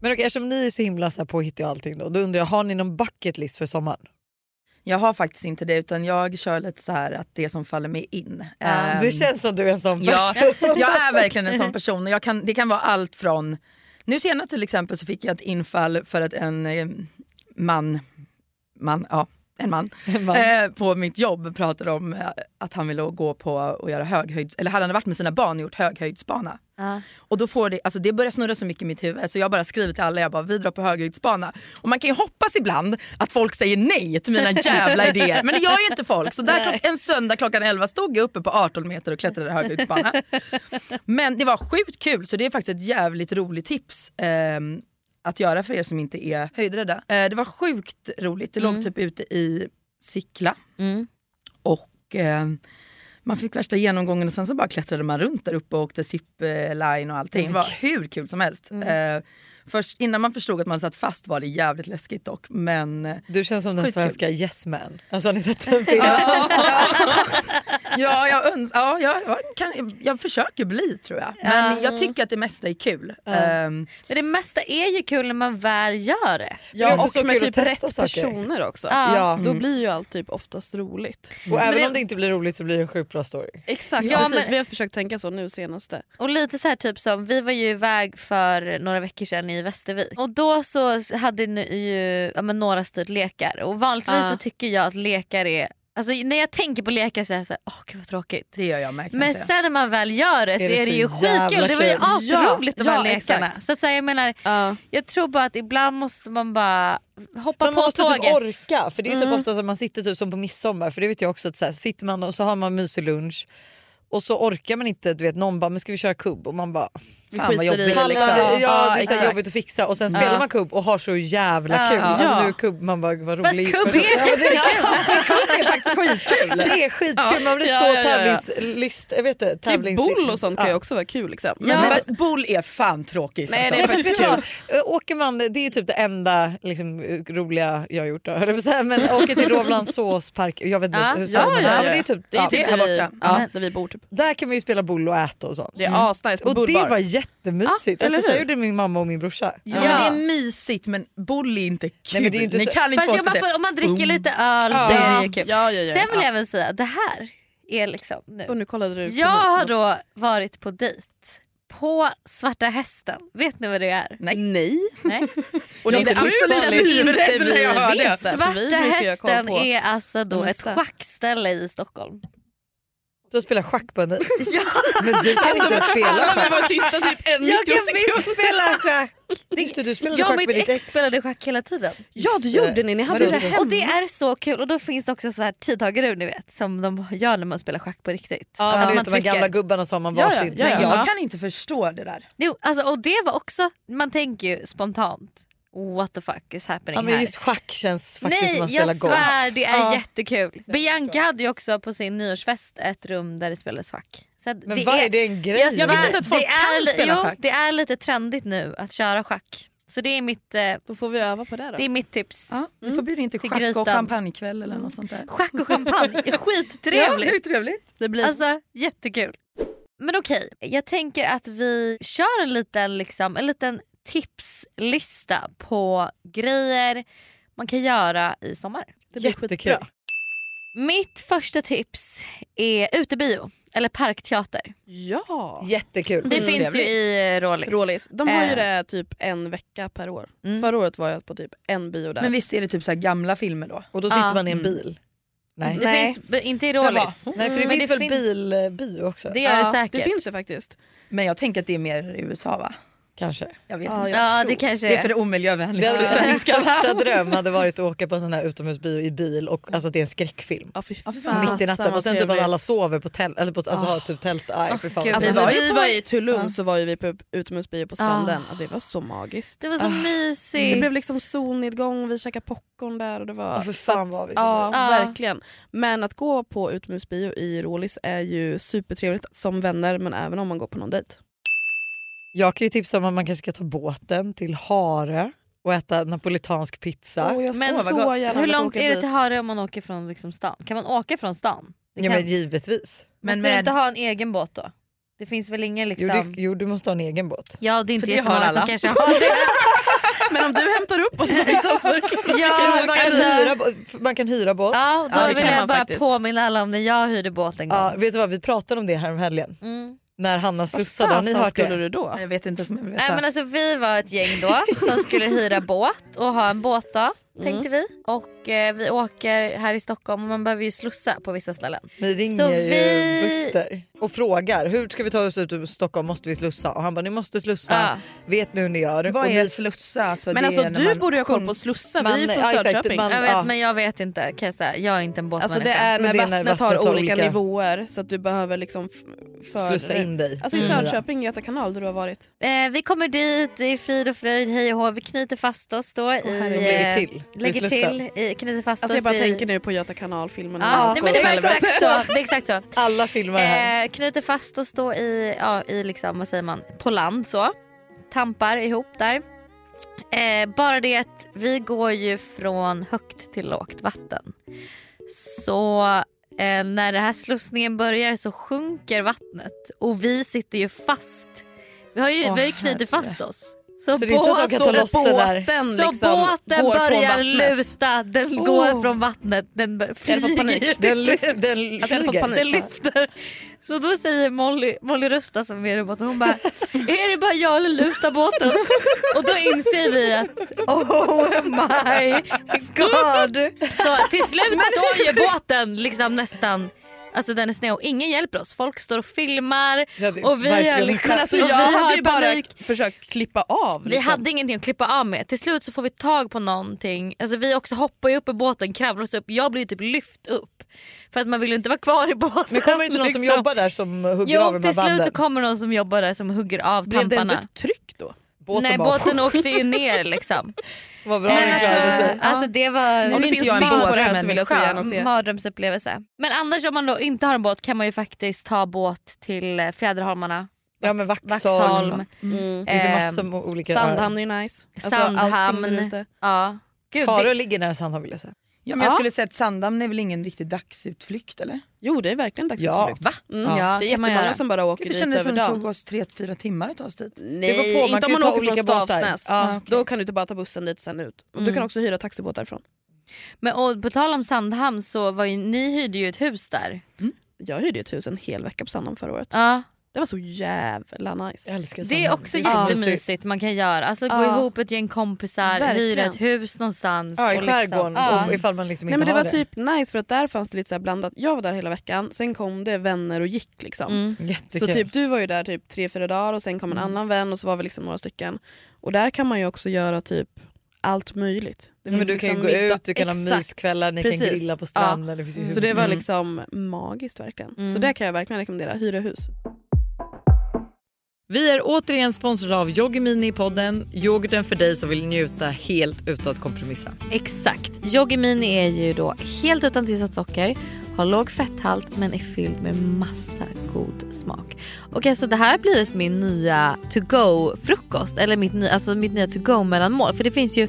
[SPEAKER 2] Men okej, eftersom ni är så himla så här påhittiga och allting då, då undrar jag, har ni någon bucket list för sommaren?
[SPEAKER 4] Jag har faktiskt inte det utan jag kör lite så här att det som faller mig in. Ehm,
[SPEAKER 2] det känns som du är en sån
[SPEAKER 4] Ja,
[SPEAKER 2] person.
[SPEAKER 4] jag är verkligen en sån person. Jag kan, det kan vara allt från... Nu senast till exempel så fick jag ett infall för att en eh, man, man, ja, en man,
[SPEAKER 2] man.
[SPEAKER 4] Eh, på mitt jobb pratade om eh, att han ville gå på och göra höghöjds... Eller hade han varit med sina barn och gjort höghöjdsbana.
[SPEAKER 1] Ja.
[SPEAKER 4] Och då får det, alltså det börjar snurra så mycket i mitt huvud så jag bara skriver till alla, jag bara vi drar på höghöjdsbana. Och man kan ju hoppas ibland att folk säger nej till mina jävla idéer men det gör ju inte folk. Så där klock, en söndag klockan 11 stod jag uppe på 18 meter och klättrade höghöjdsbana. Men det var sjukt kul så det är faktiskt ett jävligt roligt tips. ehm, att göra för er som inte är höjdrädda. Eh, det var sjukt roligt, det låg typ ute i Sickla.
[SPEAKER 1] Mm.
[SPEAKER 4] Och eh, man fick värsta genomgången och sen så bara klättrade man runt där uppe och åkte zip-line och allting. Det var hur kul som helst. Eh, först, innan man förstod att man satt fast var det jävligt läskigt dock. Men eh,
[SPEAKER 2] Du känns som den
[SPEAKER 4] Skitkul.
[SPEAKER 2] svenska Yes Man. Alltså har ni sett den filmen?
[SPEAKER 4] ja, jag, öns- ja, jag, jag, kan, jag försöker bli tror jag. Men jag tycker att det mesta är kul. Ehm,
[SPEAKER 1] Men det mesta är ju kul när man väl gör det.
[SPEAKER 2] Ja,
[SPEAKER 3] och
[SPEAKER 2] och så
[SPEAKER 3] med
[SPEAKER 2] kul att
[SPEAKER 3] typ
[SPEAKER 2] testa
[SPEAKER 3] rätt
[SPEAKER 2] saker.
[SPEAKER 3] personer också.
[SPEAKER 1] Ja.
[SPEAKER 2] Ja.
[SPEAKER 3] Då blir ju allt typ oftast roligt.
[SPEAKER 2] Och även
[SPEAKER 1] det-
[SPEAKER 2] om det inte blir roligt så blir det en sjukt bra story.
[SPEAKER 3] Exakt,
[SPEAKER 1] Ja,
[SPEAKER 3] precis.
[SPEAKER 1] men-
[SPEAKER 3] Vi har försökt tänka så nu senaste.
[SPEAKER 1] Och lite så här typ som, vi var ju iväg för några veckor sedan i Västervik och då så hade ni ju ja, men några styrt lekar och vanligtvis
[SPEAKER 3] Ja.
[SPEAKER 1] så tycker jag att lekar är, alltså när jag tänker på lekar så är jag såhär, åh gud vad tråkigt.
[SPEAKER 4] det gör jag med kan
[SPEAKER 1] Men
[SPEAKER 4] jag säga.
[SPEAKER 1] sen när man väl gör det så är det,
[SPEAKER 2] det så
[SPEAKER 1] ju
[SPEAKER 2] jävla
[SPEAKER 1] skitkul, det var ju
[SPEAKER 2] kul.
[SPEAKER 1] asroligt
[SPEAKER 3] Ja,
[SPEAKER 1] de här
[SPEAKER 3] ja,
[SPEAKER 1] lekarna.
[SPEAKER 3] exakt.
[SPEAKER 1] Så att säga, jag menar,
[SPEAKER 3] Ja.
[SPEAKER 1] jag tror bara att ibland måste man bara hoppa
[SPEAKER 2] Men man
[SPEAKER 1] på
[SPEAKER 2] måste
[SPEAKER 1] tåget. Mm.
[SPEAKER 2] typ orka för det är ju typ ofta så att man sitter typ som på midsommar för det vet jag också att så, här, så sitter man och så har man mysig lunch och så orkar man inte, du vet någon bara men ska vi köra kubb och man bara
[SPEAKER 4] Fan vad
[SPEAKER 3] skiter i
[SPEAKER 4] jobbigt.
[SPEAKER 3] det,
[SPEAKER 2] Pallar
[SPEAKER 4] Liksom.
[SPEAKER 3] liksom.
[SPEAKER 2] vi? Ja, det är så
[SPEAKER 3] exakt.
[SPEAKER 2] här jobbigt att fixa och sen spelar man kubb och har så jävla kul.
[SPEAKER 1] Ja.
[SPEAKER 2] Alltså
[SPEAKER 3] Ja.
[SPEAKER 2] nu är kubb, man bara vad
[SPEAKER 1] Fast
[SPEAKER 2] rolig.
[SPEAKER 1] kubb är-
[SPEAKER 2] Ja, men det är kul.
[SPEAKER 4] Det är faktiskt skitkul.
[SPEAKER 2] Det är skitkul, man blir
[SPEAKER 3] Ja,
[SPEAKER 2] så
[SPEAKER 3] ja, ja, ja.
[SPEAKER 2] tävlingslist... Jag vet det,
[SPEAKER 3] Typ
[SPEAKER 2] tävlings-
[SPEAKER 3] boll och sånt kan ju
[SPEAKER 2] Ja.
[SPEAKER 3] också vara kul. Liksom. Men,
[SPEAKER 4] Men,
[SPEAKER 3] men,
[SPEAKER 4] men boll är fan tråkigt.
[SPEAKER 3] nej det
[SPEAKER 4] alltså.
[SPEAKER 2] Vet
[SPEAKER 3] är faktiskt
[SPEAKER 2] du
[SPEAKER 3] kul.
[SPEAKER 2] vad? Ö, Eh, Åker man, det är typ det enda liksom, roliga jag har gjort. Då, höll jag på att säga. men åker till Rovlandsåspark, jag vet inte
[SPEAKER 1] Ja,
[SPEAKER 2] hur
[SPEAKER 1] ja,
[SPEAKER 2] säger man?
[SPEAKER 3] ja,
[SPEAKER 2] men
[SPEAKER 3] ja.
[SPEAKER 2] Det är typ,
[SPEAKER 3] Det är
[SPEAKER 2] ja,
[SPEAKER 3] ju typ
[SPEAKER 4] det är
[SPEAKER 3] där vi,
[SPEAKER 4] borta.
[SPEAKER 3] ja, där vi bor. Typ.
[SPEAKER 2] Där kan man ju spela boll och äta och sånt.
[SPEAKER 3] Det är asnice på
[SPEAKER 2] Mm. Och det
[SPEAKER 3] bullbar.
[SPEAKER 2] var jättemysigt.
[SPEAKER 3] Ja, eller
[SPEAKER 2] alltså, så
[SPEAKER 3] hur?
[SPEAKER 2] gjorde min mamma och min brorsa.
[SPEAKER 4] Ja,
[SPEAKER 1] Ja.
[SPEAKER 4] Men det är mysigt men boll är inte kul.
[SPEAKER 2] men det är ju inte
[SPEAKER 4] Ni
[SPEAKER 2] så-
[SPEAKER 4] kan inte
[SPEAKER 1] Fast jo, man
[SPEAKER 4] konstatera-
[SPEAKER 1] får, om man
[SPEAKER 2] typ.
[SPEAKER 1] dricker lite
[SPEAKER 2] Mm.
[SPEAKER 1] öl så är det ju kul.
[SPEAKER 3] Ja, ja, ja,
[SPEAKER 1] Sen vill
[SPEAKER 3] ja.
[SPEAKER 1] jag väl säga, det här är liksom nu.
[SPEAKER 3] Och nu kollade du på
[SPEAKER 1] Jag har
[SPEAKER 3] hälsan.
[SPEAKER 1] då varit på dejt på Svarta Hästen. Vet ni vad det är?
[SPEAKER 4] Nej.
[SPEAKER 3] Nej.
[SPEAKER 1] Nej.
[SPEAKER 3] Och
[SPEAKER 4] Jag blev absolut livrädd när jag hörde det.
[SPEAKER 1] Svarta Hästen är alltså då
[SPEAKER 3] det
[SPEAKER 1] ett
[SPEAKER 3] mesta.
[SPEAKER 1] schackställe i Stockholm.
[SPEAKER 2] Du har spelat schack på en dejt.
[SPEAKER 1] Ja.
[SPEAKER 2] Men du kan inte ens spela
[SPEAKER 3] Alltså, Alla vi
[SPEAKER 2] schack.
[SPEAKER 3] var tysta typ en
[SPEAKER 1] Jag kan
[SPEAKER 3] mikrosekund.
[SPEAKER 2] spela schack! Just det, du spelade
[SPEAKER 1] Jag och
[SPEAKER 2] schack
[SPEAKER 1] mitt
[SPEAKER 2] med ditt
[SPEAKER 1] ex
[SPEAKER 2] ex.
[SPEAKER 1] spelade schack hela tiden.
[SPEAKER 3] Ja det gjorde ni, ni hade
[SPEAKER 2] Vadå?
[SPEAKER 3] det hemma.
[SPEAKER 1] Och det är så kul och då finns det också så här tidtagarur ni vet som de gör när man spelar schack på riktigt.
[SPEAKER 2] Ja,
[SPEAKER 1] Att
[SPEAKER 2] men du
[SPEAKER 1] man
[SPEAKER 2] vet de här
[SPEAKER 1] trycker.
[SPEAKER 2] gamla gubbarna som har man
[SPEAKER 3] Ja, ja,
[SPEAKER 2] varsin.
[SPEAKER 3] ja, ja.
[SPEAKER 4] Jag
[SPEAKER 3] Ja.
[SPEAKER 4] kan inte förstå det där.
[SPEAKER 1] Jo, alltså, och det var också, man tänker ju spontant what the fuck is happening
[SPEAKER 2] Ja, men
[SPEAKER 1] här.
[SPEAKER 2] just schack känns faktiskt
[SPEAKER 1] Nej
[SPEAKER 2] som att spela
[SPEAKER 1] jag
[SPEAKER 2] golf.
[SPEAKER 1] svär det är
[SPEAKER 2] Ja.
[SPEAKER 1] jättekul. Bianca hade ju också på sin nyårsfest ett rum där det spelades schack. Så att
[SPEAKER 2] Men vad är det en grej?
[SPEAKER 1] svär,
[SPEAKER 4] visste inte att folk
[SPEAKER 1] det är,
[SPEAKER 4] kan
[SPEAKER 1] li-
[SPEAKER 4] spela
[SPEAKER 1] jo,
[SPEAKER 4] schack.
[SPEAKER 1] Det är lite trendigt nu att köra schack. Så det är mitt, eh,
[SPEAKER 3] Då får vi öva på det då.
[SPEAKER 1] det är mitt tips.
[SPEAKER 4] Ja, vi får bjuda in till
[SPEAKER 1] Till
[SPEAKER 4] schack
[SPEAKER 1] grytan.
[SPEAKER 4] och champagnekväll eller något sånt där.
[SPEAKER 1] Schack och champagne är
[SPEAKER 4] Ja, det
[SPEAKER 1] skittrevligt.
[SPEAKER 4] är trevligt.
[SPEAKER 3] Det blir
[SPEAKER 1] Alltså jättekul. Men okej, jag tänker att vi kör en liten, liksom, en liten tipslista på grejer man kan göra i sommar.
[SPEAKER 3] det blir
[SPEAKER 2] Jättekul.
[SPEAKER 3] skitbra.
[SPEAKER 1] Mitt första tips är utebio eller parkteater.
[SPEAKER 3] Ja.
[SPEAKER 2] Jättekul.
[SPEAKER 1] Det finns ju i eh, Rålis.
[SPEAKER 3] Mm. Rålis. De har ju
[SPEAKER 1] Eh.
[SPEAKER 3] det typ en vecka per år.
[SPEAKER 1] Mm.
[SPEAKER 3] Förra året var jag på typ en bio där.
[SPEAKER 4] Men visst är det typ så här gamla filmer då?
[SPEAKER 2] Och då sitter
[SPEAKER 1] Ja. Mm.
[SPEAKER 2] man i en bil. Nej.
[SPEAKER 1] Det
[SPEAKER 3] Nej.
[SPEAKER 1] finns b- inte i Rålis.
[SPEAKER 2] Nej för det
[SPEAKER 1] Men
[SPEAKER 2] finns
[SPEAKER 1] det
[SPEAKER 2] väl
[SPEAKER 1] finns-
[SPEAKER 2] bil, bio också?
[SPEAKER 1] Det gör det
[SPEAKER 3] Ja,
[SPEAKER 1] säkert.
[SPEAKER 3] Det finns det faktiskt.
[SPEAKER 4] Men jag tänker att det är mer i USA va?
[SPEAKER 2] Kanske.
[SPEAKER 4] Jag vet
[SPEAKER 3] Ja,
[SPEAKER 4] inte.
[SPEAKER 1] Ja det kanske
[SPEAKER 4] Det är för det omiljövänligt.
[SPEAKER 2] Den,
[SPEAKER 4] Ja.
[SPEAKER 2] Min största dröm hade varit att åka på en sån här utomhusbio i bil
[SPEAKER 1] Mm.
[SPEAKER 2] och alltså det är en skräckfilm.
[SPEAKER 3] Ja, fy
[SPEAKER 4] fy
[SPEAKER 1] Ah,
[SPEAKER 3] fan.
[SPEAKER 4] fan.
[SPEAKER 2] Mitt i natten
[SPEAKER 3] vad
[SPEAKER 2] och sen typ att
[SPEAKER 3] trevligt.
[SPEAKER 2] alla sover på tält, eller på, alltså har typ tält. Aj, för fan.
[SPEAKER 1] Ah, Gud,
[SPEAKER 3] Alltså,
[SPEAKER 1] Men
[SPEAKER 3] när
[SPEAKER 1] var
[SPEAKER 3] vi
[SPEAKER 1] vi på-
[SPEAKER 3] var i Tulum
[SPEAKER 1] Ja.
[SPEAKER 3] så var ju vi på utomhusbio på stranden. Ja, Det var så magiskt.
[SPEAKER 1] Det var så mysigt.
[SPEAKER 3] Ah. Det blev liksom solnedgång, vi käkade popcorn där och det var...
[SPEAKER 2] Ja, för fan liksom. vad vi
[SPEAKER 3] Ja,
[SPEAKER 1] Ja.
[SPEAKER 3] verkligen. Men att gå på utomhusbio i Rålis är ju supertrevligt som vänner men även om man går på någon dejt.
[SPEAKER 2] Jag kan ju tipsa om att man kanske ska ta båten till Hare och äta napolitansk pizza.
[SPEAKER 3] jag
[SPEAKER 1] Men
[SPEAKER 3] så,
[SPEAKER 1] så
[SPEAKER 3] så
[SPEAKER 1] Hur
[SPEAKER 3] gärna velat
[SPEAKER 1] långt
[SPEAKER 3] åka
[SPEAKER 1] är det
[SPEAKER 3] dit.
[SPEAKER 1] till Harö om man åker från liksom, stan? Kan man åka från stan? Det
[SPEAKER 2] ja,
[SPEAKER 1] kan,
[SPEAKER 2] men givetvis.
[SPEAKER 1] måste
[SPEAKER 4] Men
[SPEAKER 1] du
[SPEAKER 4] med,
[SPEAKER 1] inte ha en egen båt då? Det finns väl ingen
[SPEAKER 2] Jo,
[SPEAKER 1] liksom...
[SPEAKER 2] det, jo du måste ha en egen båt.
[SPEAKER 1] Ja det är inte
[SPEAKER 4] För det har
[SPEAKER 1] jättemånga som
[SPEAKER 4] alla.
[SPEAKER 1] kanske har det.
[SPEAKER 3] Men om du hämtar upp oss någonstans så är det klart vi
[SPEAKER 1] Ja,
[SPEAKER 3] kan
[SPEAKER 2] Man
[SPEAKER 3] åka
[SPEAKER 2] kan
[SPEAKER 1] alltså-
[SPEAKER 3] dit.
[SPEAKER 2] hyra, bo- man kan hyra båt.
[SPEAKER 1] Ja, då
[SPEAKER 4] Ja, det
[SPEAKER 1] vill
[SPEAKER 4] kan
[SPEAKER 1] jag
[SPEAKER 3] man
[SPEAKER 1] bara
[SPEAKER 3] faktiskt.
[SPEAKER 1] påminna alla om när jag hyrde båt en gång.
[SPEAKER 2] Ja, vet du vad, vi pratade om det här om helgen
[SPEAKER 1] Mm.
[SPEAKER 2] när Hanna slussade. Har
[SPEAKER 3] Fasen
[SPEAKER 2] ni hört
[SPEAKER 3] skulle
[SPEAKER 2] det?
[SPEAKER 3] du då?
[SPEAKER 4] jag vet inte som jag vill
[SPEAKER 1] Nej,
[SPEAKER 4] veta.
[SPEAKER 1] men alltså, vi var ett gäng då som skulle hyra båt och ha en båtdag tänkte vi. Och eh, vi åker här i Stockholm och man behöver ju slussa på vissa ställen.
[SPEAKER 2] Ni ringer
[SPEAKER 1] Så
[SPEAKER 2] ju
[SPEAKER 1] vi-
[SPEAKER 2] Buster och frågar hur ska vi ta oss ut ur Stockholm, måste vi slussa? Och han bara ni måste slussa,
[SPEAKER 1] Ja.
[SPEAKER 2] vet nu hur ni gör.
[SPEAKER 4] Vad
[SPEAKER 2] och
[SPEAKER 4] är
[SPEAKER 2] vi-
[SPEAKER 4] slussa? Alltså,
[SPEAKER 3] Men
[SPEAKER 4] det
[SPEAKER 3] alltså
[SPEAKER 4] är när
[SPEAKER 3] du
[SPEAKER 4] man-
[SPEAKER 3] borde ju ha koll på slussar,
[SPEAKER 2] Man-
[SPEAKER 3] vi är ju från
[SPEAKER 2] ja, exakt,
[SPEAKER 3] Söderköping.
[SPEAKER 2] man-
[SPEAKER 1] Jag vet
[SPEAKER 2] Ja.
[SPEAKER 1] men jag vet inte kan jag säga. Jag är inte en
[SPEAKER 3] Alltså
[SPEAKER 1] båtmänniska.
[SPEAKER 3] det är
[SPEAKER 2] Men
[SPEAKER 3] när
[SPEAKER 2] det är
[SPEAKER 3] vattnet har olika,
[SPEAKER 2] olika-
[SPEAKER 3] nivåer så att du behöver liksom f- för...
[SPEAKER 2] slussa in dig.
[SPEAKER 3] Alltså i
[SPEAKER 2] Mm.
[SPEAKER 3] Söderköping, Göta kanal där du har varit.
[SPEAKER 1] Eh, vi kommer dit, det är frid och fröjd, hej och hå. Vi knyter fast oss då. i,
[SPEAKER 2] De
[SPEAKER 1] eh,
[SPEAKER 2] lägger till.
[SPEAKER 1] lägger
[SPEAKER 2] vid slussen.
[SPEAKER 1] till i, knyter fast
[SPEAKER 3] Alltså
[SPEAKER 1] oss
[SPEAKER 3] jag bara
[SPEAKER 1] i...
[SPEAKER 3] tänker nu på Göta kanal-filmen. när
[SPEAKER 1] Ja,
[SPEAKER 2] Ah.
[SPEAKER 3] allt
[SPEAKER 1] nej,
[SPEAKER 3] går
[SPEAKER 1] men det,
[SPEAKER 3] åt
[SPEAKER 1] var
[SPEAKER 3] helvete.
[SPEAKER 1] exakt så, det är exakt så.
[SPEAKER 2] Alla filmer här.
[SPEAKER 1] Eh, knyter fast oss då i, ja, i liksom, vad säger man, på land så. Tampar ihop där. Eh, bara det att vi går ju från högt till lågt vatten. Så eh, när den här slussningen börjar så sjunker vattnet och vi sitter ju fast. Vi har ju,
[SPEAKER 2] Åh,
[SPEAKER 1] vi har ju knutit fast oss.
[SPEAKER 2] Så det är inte att de kan
[SPEAKER 1] så-
[SPEAKER 2] ta loss det där.
[SPEAKER 3] båten
[SPEAKER 1] så
[SPEAKER 3] liksom
[SPEAKER 1] båten
[SPEAKER 3] går från
[SPEAKER 1] börjar
[SPEAKER 3] vattnet.
[SPEAKER 1] luta, den
[SPEAKER 3] Oh.
[SPEAKER 1] går från vattnet, den bör-
[SPEAKER 3] hade fått
[SPEAKER 1] flyger
[SPEAKER 3] panik.
[SPEAKER 1] ju
[SPEAKER 2] Den,
[SPEAKER 1] till
[SPEAKER 2] lyf,
[SPEAKER 1] slut.
[SPEAKER 2] den
[SPEAKER 3] Alltså, jag hade fått
[SPEAKER 2] flyger.
[SPEAKER 3] panik.
[SPEAKER 1] Den lyfter. Så då säger Molly, Molly Rusta som är roboten, hon bara är det bara jag eller lutar båten? Och då inser vi att oh my god. Så till slut står ju båten liksom nästan Alltså den är sned och ingen hjälper oss. Folk står och filmar
[SPEAKER 2] Ja, det är
[SPEAKER 1] och vi är
[SPEAKER 2] verkligen-
[SPEAKER 1] liksom,
[SPEAKER 3] Men alltså
[SPEAKER 1] och
[SPEAKER 3] jag
[SPEAKER 1] vi
[SPEAKER 3] hade
[SPEAKER 1] har
[SPEAKER 3] ju bara
[SPEAKER 1] panik.
[SPEAKER 3] försökt klippa av.
[SPEAKER 1] Vi
[SPEAKER 2] Liksom.
[SPEAKER 1] hade ingenting att klippa av med. Till slut så får vi tag på någonting. Alltså vi också hoppar ju upp i båten, kravlar oss upp. Jag blir ju typ lyft upp. För att man vill ju inte vara kvar i båten.
[SPEAKER 2] Men kommer det inte någon som
[SPEAKER 1] liksom.
[SPEAKER 2] jobbar där som hugger av
[SPEAKER 1] Jo
[SPEAKER 2] de här
[SPEAKER 1] till slut så
[SPEAKER 2] banden?
[SPEAKER 1] kommer någon som jobbar där som hugger av
[SPEAKER 3] Blev det inte
[SPEAKER 1] tamparna.
[SPEAKER 3] ett tryck då?
[SPEAKER 2] Båten
[SPEAKER 1] Nej
[SPEAKER 2] bara-
[SPEAKER 1] båten åkte ju ner liksom.
[SPEAKER 2] Vad bra
[SPEAKER 1] Men
[SPEAKER 2] den klarade sig.
[SPEAKER 1] alltså, alltså det var
[SPEAKER 3] Nu
[SPEAKER 4] vill inte jag en
[SPEAKER 1] mardröm-
[SPEAKER 4] båt på det här så
[SPEAKER 3] vill jag så gärna se.
[SPEAKER 1] mardrömsupplevelse. Men annars om man då inte har en båt kan man ju faktiskt ta båt till eh, Fjäderholmarna,
[SPEAKER 2] Ja men Vaxholm.
[SPEAKER 1] Vaxholm, eh,
[SPEAKER 2] Det
[SPEAKER 3] Mm.
[SPEAKER 2] finns ju massor med olika
[SPEAKER 3] Sandhamn är ju nice. Alltså, allting där
[SPEAKER 1] Sandhamn.
[SPEAKER 3] ute.
[SPEAKER 1] ja. Gud, det-
[SPEAKER 2] Farao ligger nära Sandhamn vill jag säga.
[SPEAKER 4] Ja, men jag
[SPEAKER 3] Ja.
[SPEAKER 4] skulle säga att Sandhamn är väl ingen riktig dagsutflykt eller?
[SPEAKER 3] Jo det är verkligen dags
[SPEAKER 2] Ja.
[SPEAKER 3] för flykt. Mm.
[SPEAKER 1] Ja,
[SPEAKER 3] det är
[SPEAKER 1] kan man
[SPEAKER 3] jättemånga
[SPEAKER 1] göra.
[SPEAKER 3] som bara åker
[SPEAKER 4] Det
[SPEAKER 3] dit
[SPEAKER 4] kändes
[SPEAKER 3] över
[SPEAKER 4] som det
[SPEAKER 3] dagen.
[SPEAKER 4] tog oss 3-4 timmar att ta oss dit.
[SPEAKER 3] Nej,
[SPEAKER 2] beror på, man
[SPEAKER 3] inte
[SPEAKER 2] kan
[SPEAKER 3] om
[SPEAKER 2] ju
[SPEAKER 3] man
[SPEAKER 2] ta
[SPEAKER 3] åker från
[SPEAKER 2] olika båtar.
[SPEAKER 3] Stavsnäs.
[SPEAKER 2] Ja,
[SPEAKER 4] okej.
[SPEAKER 3] Då kan du inte bara ta bussen dit sen ut. Och Du kan också hyra taxi båt därifrån.
[SPEAKER 1] Men och på tal om Sandhamn så var ju, ni hyrde ju ett hus där.
[SPEAKER 3] Jag hyrde ett hus en hel vecka på Sandhamn förra året.
[SPEAKER 1] Ja.
[SPEAKER 3] Det var så jävla nice.
[SPEAKER 2] Jag älskar
[SPEAKER 1] Det är
[SPEAKER 2] Sandhamn.
[SPEAKER 1] också
[SPEAKER 2] så mysigt.
[SPEAKER 1] jättemysigt man kan göra. Alltså gå
[SPEAKER 3] Ja.
[SPEAKER 1] ihop ett gäng kompisar,
[SPEAKER 3] Verkligen.
[SPEAKER 1] hyra ett hus någonstans.
[SPEAKER 2] Ja i
[SPEAKER 1] och liksom-
[SPEAKER 2] skärgården
[SPEAKER 1] Ja.
[SPEAKER 2] och ifall man liksom
[SPEAKER 3] Nej,
[SPEAKER 2] inte
[SPEAKER 3] men det
[SPEAKER 2] har
[SPEAKER 3] var typ nice för att där fanns det lite så här blandat. Jag var där hela veckan, sen kom det vänner och gick liksom.
[SPEAKER 1] Mm.
[SPEAKER 2] Jättekul.
[SPEAKER 3] Så typ, du var ju där typ tre, fyra dagar och sen kom en
[SPEAKER 2] Mm.
[SPEAKER 3] annan vän och så var vi liksom några stycken. Och där kan man ju också göra typ allt möjligt. Det
[SPEAKER 2] Nej, men
[SPEAKER 3] finns
[SPEAKER 2] du kan ju
[SPEAKER 3] liksom
[SPEAKER 2] gå
[SPEAKER 3] middag-
[SPEAKER 2] ut, du kan ha Mm.
[SPEAKER 3] Exakt.
[SPEAKER 2] myskvällar, ni
[SPEAKER 3] Precis.
[SPEAKER 2] kan grilla på stranden. Det finns ju
[SPEAKER 3] Så det
[SPEAKER 2] hur
[SPEAKER 3] var
[SPEAKER 2] mycket-
[SPEAKER 3] liksom magiskt verkligen. Så
[SPEAKER 1] Mm.
[SPEAKER 3] det kan jag verkligen rekommendera, hyra hus.
[SPEAKER 2] Vi är återigen sponsrade av Yoggi Mini i podden. Yoghurten för dig som vill njuta helt utan att kompromissa.
[SPEAKER 1] Exakt. Yoggi Mini är ju då helt utan tillsatt socker, har låg fetthalt men är fylld med massa god smak. Och alltså det här har blivit min nya to go frukost eller mitt, ny- alltså mitt nya to go mellanmål för det finns ju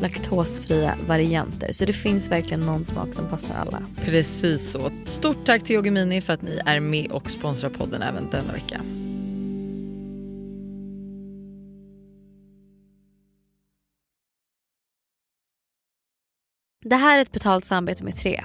[SPEAKER 1] laktosfria varianter. Så det finns verkligen någon smak som passar alla.
[SPEAKER 2] Precis så. Stort tack till Yoggi Mini för att ni är med och sponsrar podden även denna vecka.
[SPEAKER 1] Det här är ett betalt samarbete med tre.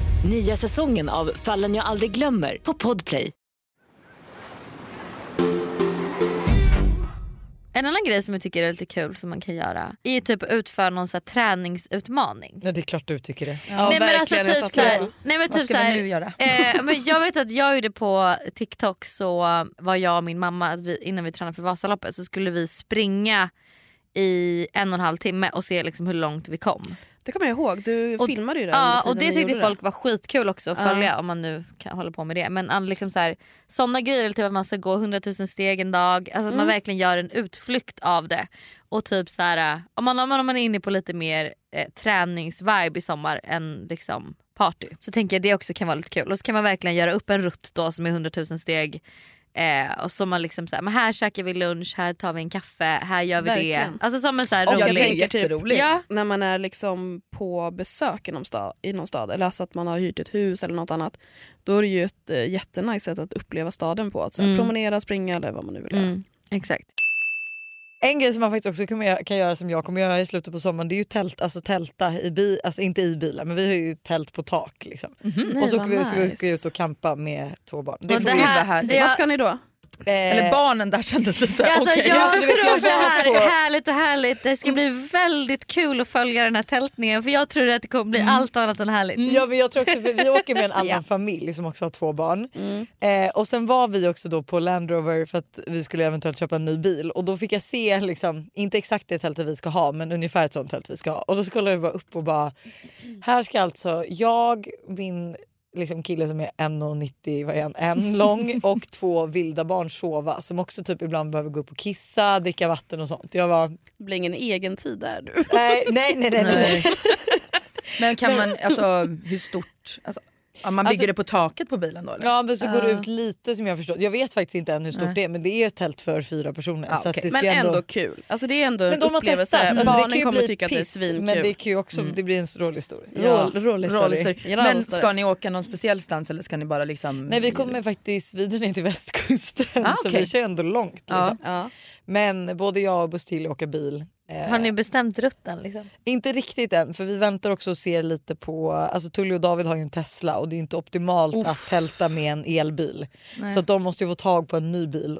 [SPEAKER 5] Nya säsongen av Fallen jag aldrig glömmer på Podplay.
[SPEAKER 1] En annan grej som jag tycker är lite kul som man kan göra är ju typ att utföra någon så här träningsutmaning.
[SPEAKER 2] Ja det är klart du tycker det.
[SPEAKER 3] Ja,
[SPEAKER 1] nej, men
[SPEAKER 3] verkligen,
[SPEAKER 1] alltså,
[SPEAKER 3] jag
[SPEAKER 1] typ
[SPEAKER 3] satt
[SPEAKER 1] så här,
[SPEAKER 3] och-
[SPEAKER 1] nej men
[SPEAKER 4] Vad
[SPEAKER 1] typ
[SPEAKER 4] ska man
[SPEAKER 1] såhär,
[SPEAKER 4] nu göra?
[SPEAKER 1] eh, men jag vet att jag gjorde på TikTok så var jag och min mamma att vi, innan vi tränade för Vasaloppet så skulle vi springa i en och en halv timme och se liksom hur långt vi kom.
[SPEAKER 3] Det kommer jag ihåg, du
[SPEAKER 1] Och-
[SPEAKER 3] filmade ju det under
[SPEAKER 1] Ja,
[SPEAKER 3] tiden
[SPEAKER 1] och det
[SPEAKER 3] ni
[SPEAKER 1] tyckte
[SPEAKER 3] gjorde
[SPEAKER 1] folk var skitkul också att
[SPEAKER 3] Ja.
[SPEAKER 1] följa om man nu kan hålla på med det. Men an, liksom så här, sådana grejer, typ att man ska gå 100 000 steg en dag, alltså att
[SPEAKER 3] Mm.
[SPEAKER 1] man verkligen gör en utflykt av det. Och typ så här, eh, om, man, om, man, om man är inne på lite mer eh, träningsvibe i sommar än liksom party så tänker jag det också kan vara lite kul. Och så kan man verkligen göra upp en rutt då som är 100 000 steg. Eh, och så man liksom så här, men här käkar vi lunch, här tar vi en kaffe, här gör vi
[SPEAKER 3] Verkligen.
[SPEAKER 1] det. Alltså som en så här
[SPEAKER 3] Och jag
[SPEAKER 1] rolig...
[SPEAKER 3] tänker typ-
[SPEAKER 2] jätteroligt.
[SPEAKER 1] ja,
[SPEAKER 3] när man är liksom på besök i någon, stad, i någon stad eller alltså att man har hyrt ett hus eller något annat då är det ju ett eh, jättenice sätt att uppleva staden på. Att så här,
[SPEAKER 1] Mm.
[SPEAKER 3] promenera, springa eller vad man nu vill göra.
[SPEAKER 1] mm, exakt.
[SPEAKER 2] En grej som man faktiskt också kan göra, kan göra som jag kommer göra i slutet på sommaren det är ju tält, alltså tälta i bi, alltså inte i bilar men vi har ju tält på tak liksom.
[SPEAKER 3] Nej,
[SPEAKER 2] och så
[SPEAKER 3] vad
[SPEAKER 2] åker vi, ska vi
[SPEAKER 3] nice.
[SPEAKER 2] åka ut och campa med två barn.
[SPEAKER 1] Och
[SPEAKER 2] får
[SPEAKER 1] det
[SPEAKER 2] vi-
[SPEAKER 1] här- det
[SPEAKER 3] Vad
[SPEAKER 1] jag-
[SPEAKER 3] ska ni då?
[SPEAKER 2] eh,
[SPEAKER 4] Eller barnen där kändes lite...
[SPEAKER 1] Ja, Alltså,
[SPEAKER 4] okej.
[SPEAKER 1] Jag
[SPEAKER 2] alltså, du vet,
[SPEAKER 1] tror
[SPEAKER 2] jag
[SPEAKER 1] det här
[SPEAKER 2] känner
[SPEAKER 1] är
[SPEAKER 2] på-
[SPEAKER 1] härligt och härligt. Det ska bli väldigt kul att följa den här tältningen för jag tror att det kommer bli allt annat än härligt.
[SPEAKER 2] Ja, men jag tror också, för vi åker med en annan
[SPEAKER 1] Ja.
[SPEAKER 2] familj som också har två barn. Eh, och Sen var vi också då på Land Rover för att vi skulle eventuellt köpa en ny bil. Och Då fick jag se, liksom, inte exakt det tältet vi ska ha men ungefär ett sånt tält vi ska ha. Och Då kollade jag bara upp och bara, här ska alltså jag, min liksom kille som är 1,90 vad är han, en lång och två vilda barn sova som också typ ibland behöver gå upp och kissa, dricka vatten och sånt. Jag var
[SPEAKER 3] Det blir ingen egen tid där du.
[SPEAKER 2] nej, nej, nej, nej, nej. nej.
[SPEAKER 4] Men kan man, alltså hur stort? Alltså, ja, man bygger
[SPEAKER 2] Alltså-
[SPEAKER 4] det på taket på bilen då eller?
[SPEAKER 2] Ja men så går det ut lite som jag förstår. Jag vet faktiskt inte än hur stort det är men det är ett tält för fyra personer.
[SPEAKER 4] Ja,
[SPEAKER 2] så att
[SPEAKER 4] okej.
[SPEAKER 2] det ska
[SPEAKER 3] Men ändå, kul. Alltså det är ändå
[SPEAKER 2] men
[SPEAKER 3] en
[SPEAKER 2] de har
[SPEAKER 3] upplevelse.
[SPEAKER 2] testat. Alltså, det kan
[SPEAKER 3] Barnen
[SPEAKER 2] ju
[SPEAKER 3] kommer
[SPEAKER 2] bli
[SPEAKER 3] tycka att det är
[SPEAKER 2] piss,
[SPEAKER 3] svinkul. Mm.
[SPEAKER 2] Men det kan ju också det blir en så rolig story.
[SPEAKER 3] Ja.
[SPEAKER 2] Roll, rolig story.
[SPEAKER 4] Rolig story.
[SPEAKER 3] Gillar
[SPEAKER 4] Men
[SPEAKER 3] rolig story.
[SPEAKER 4] ska ni åka någon speciell stans eller ska ni bara liksom...
[SPEAKER 2] Nej vi kommer faktiskt vidare ner till västkusten
[SPEAKER 4] Ah,
[SPEAKER 2] så
[SPEAKER 4] okej.
[SPEAKER 2] vi kör ändå långt. Liksom.
[SPEAKER 4] Ja.
[SPEAKER 3] Ja.
[SPEAKER 2] Men både jag och Bustilli åker bil. Eh,
[SPEAKER 1] Har ni bestämt rutten? Liksom?
[SPEAKER 2] Inte riktigt än för vi väntar också och ser lite på, alltså Tully och David har ju en Tesla och det är inte optimalt att tälta med en elbil. Så att de måste ju få tag på en ny bil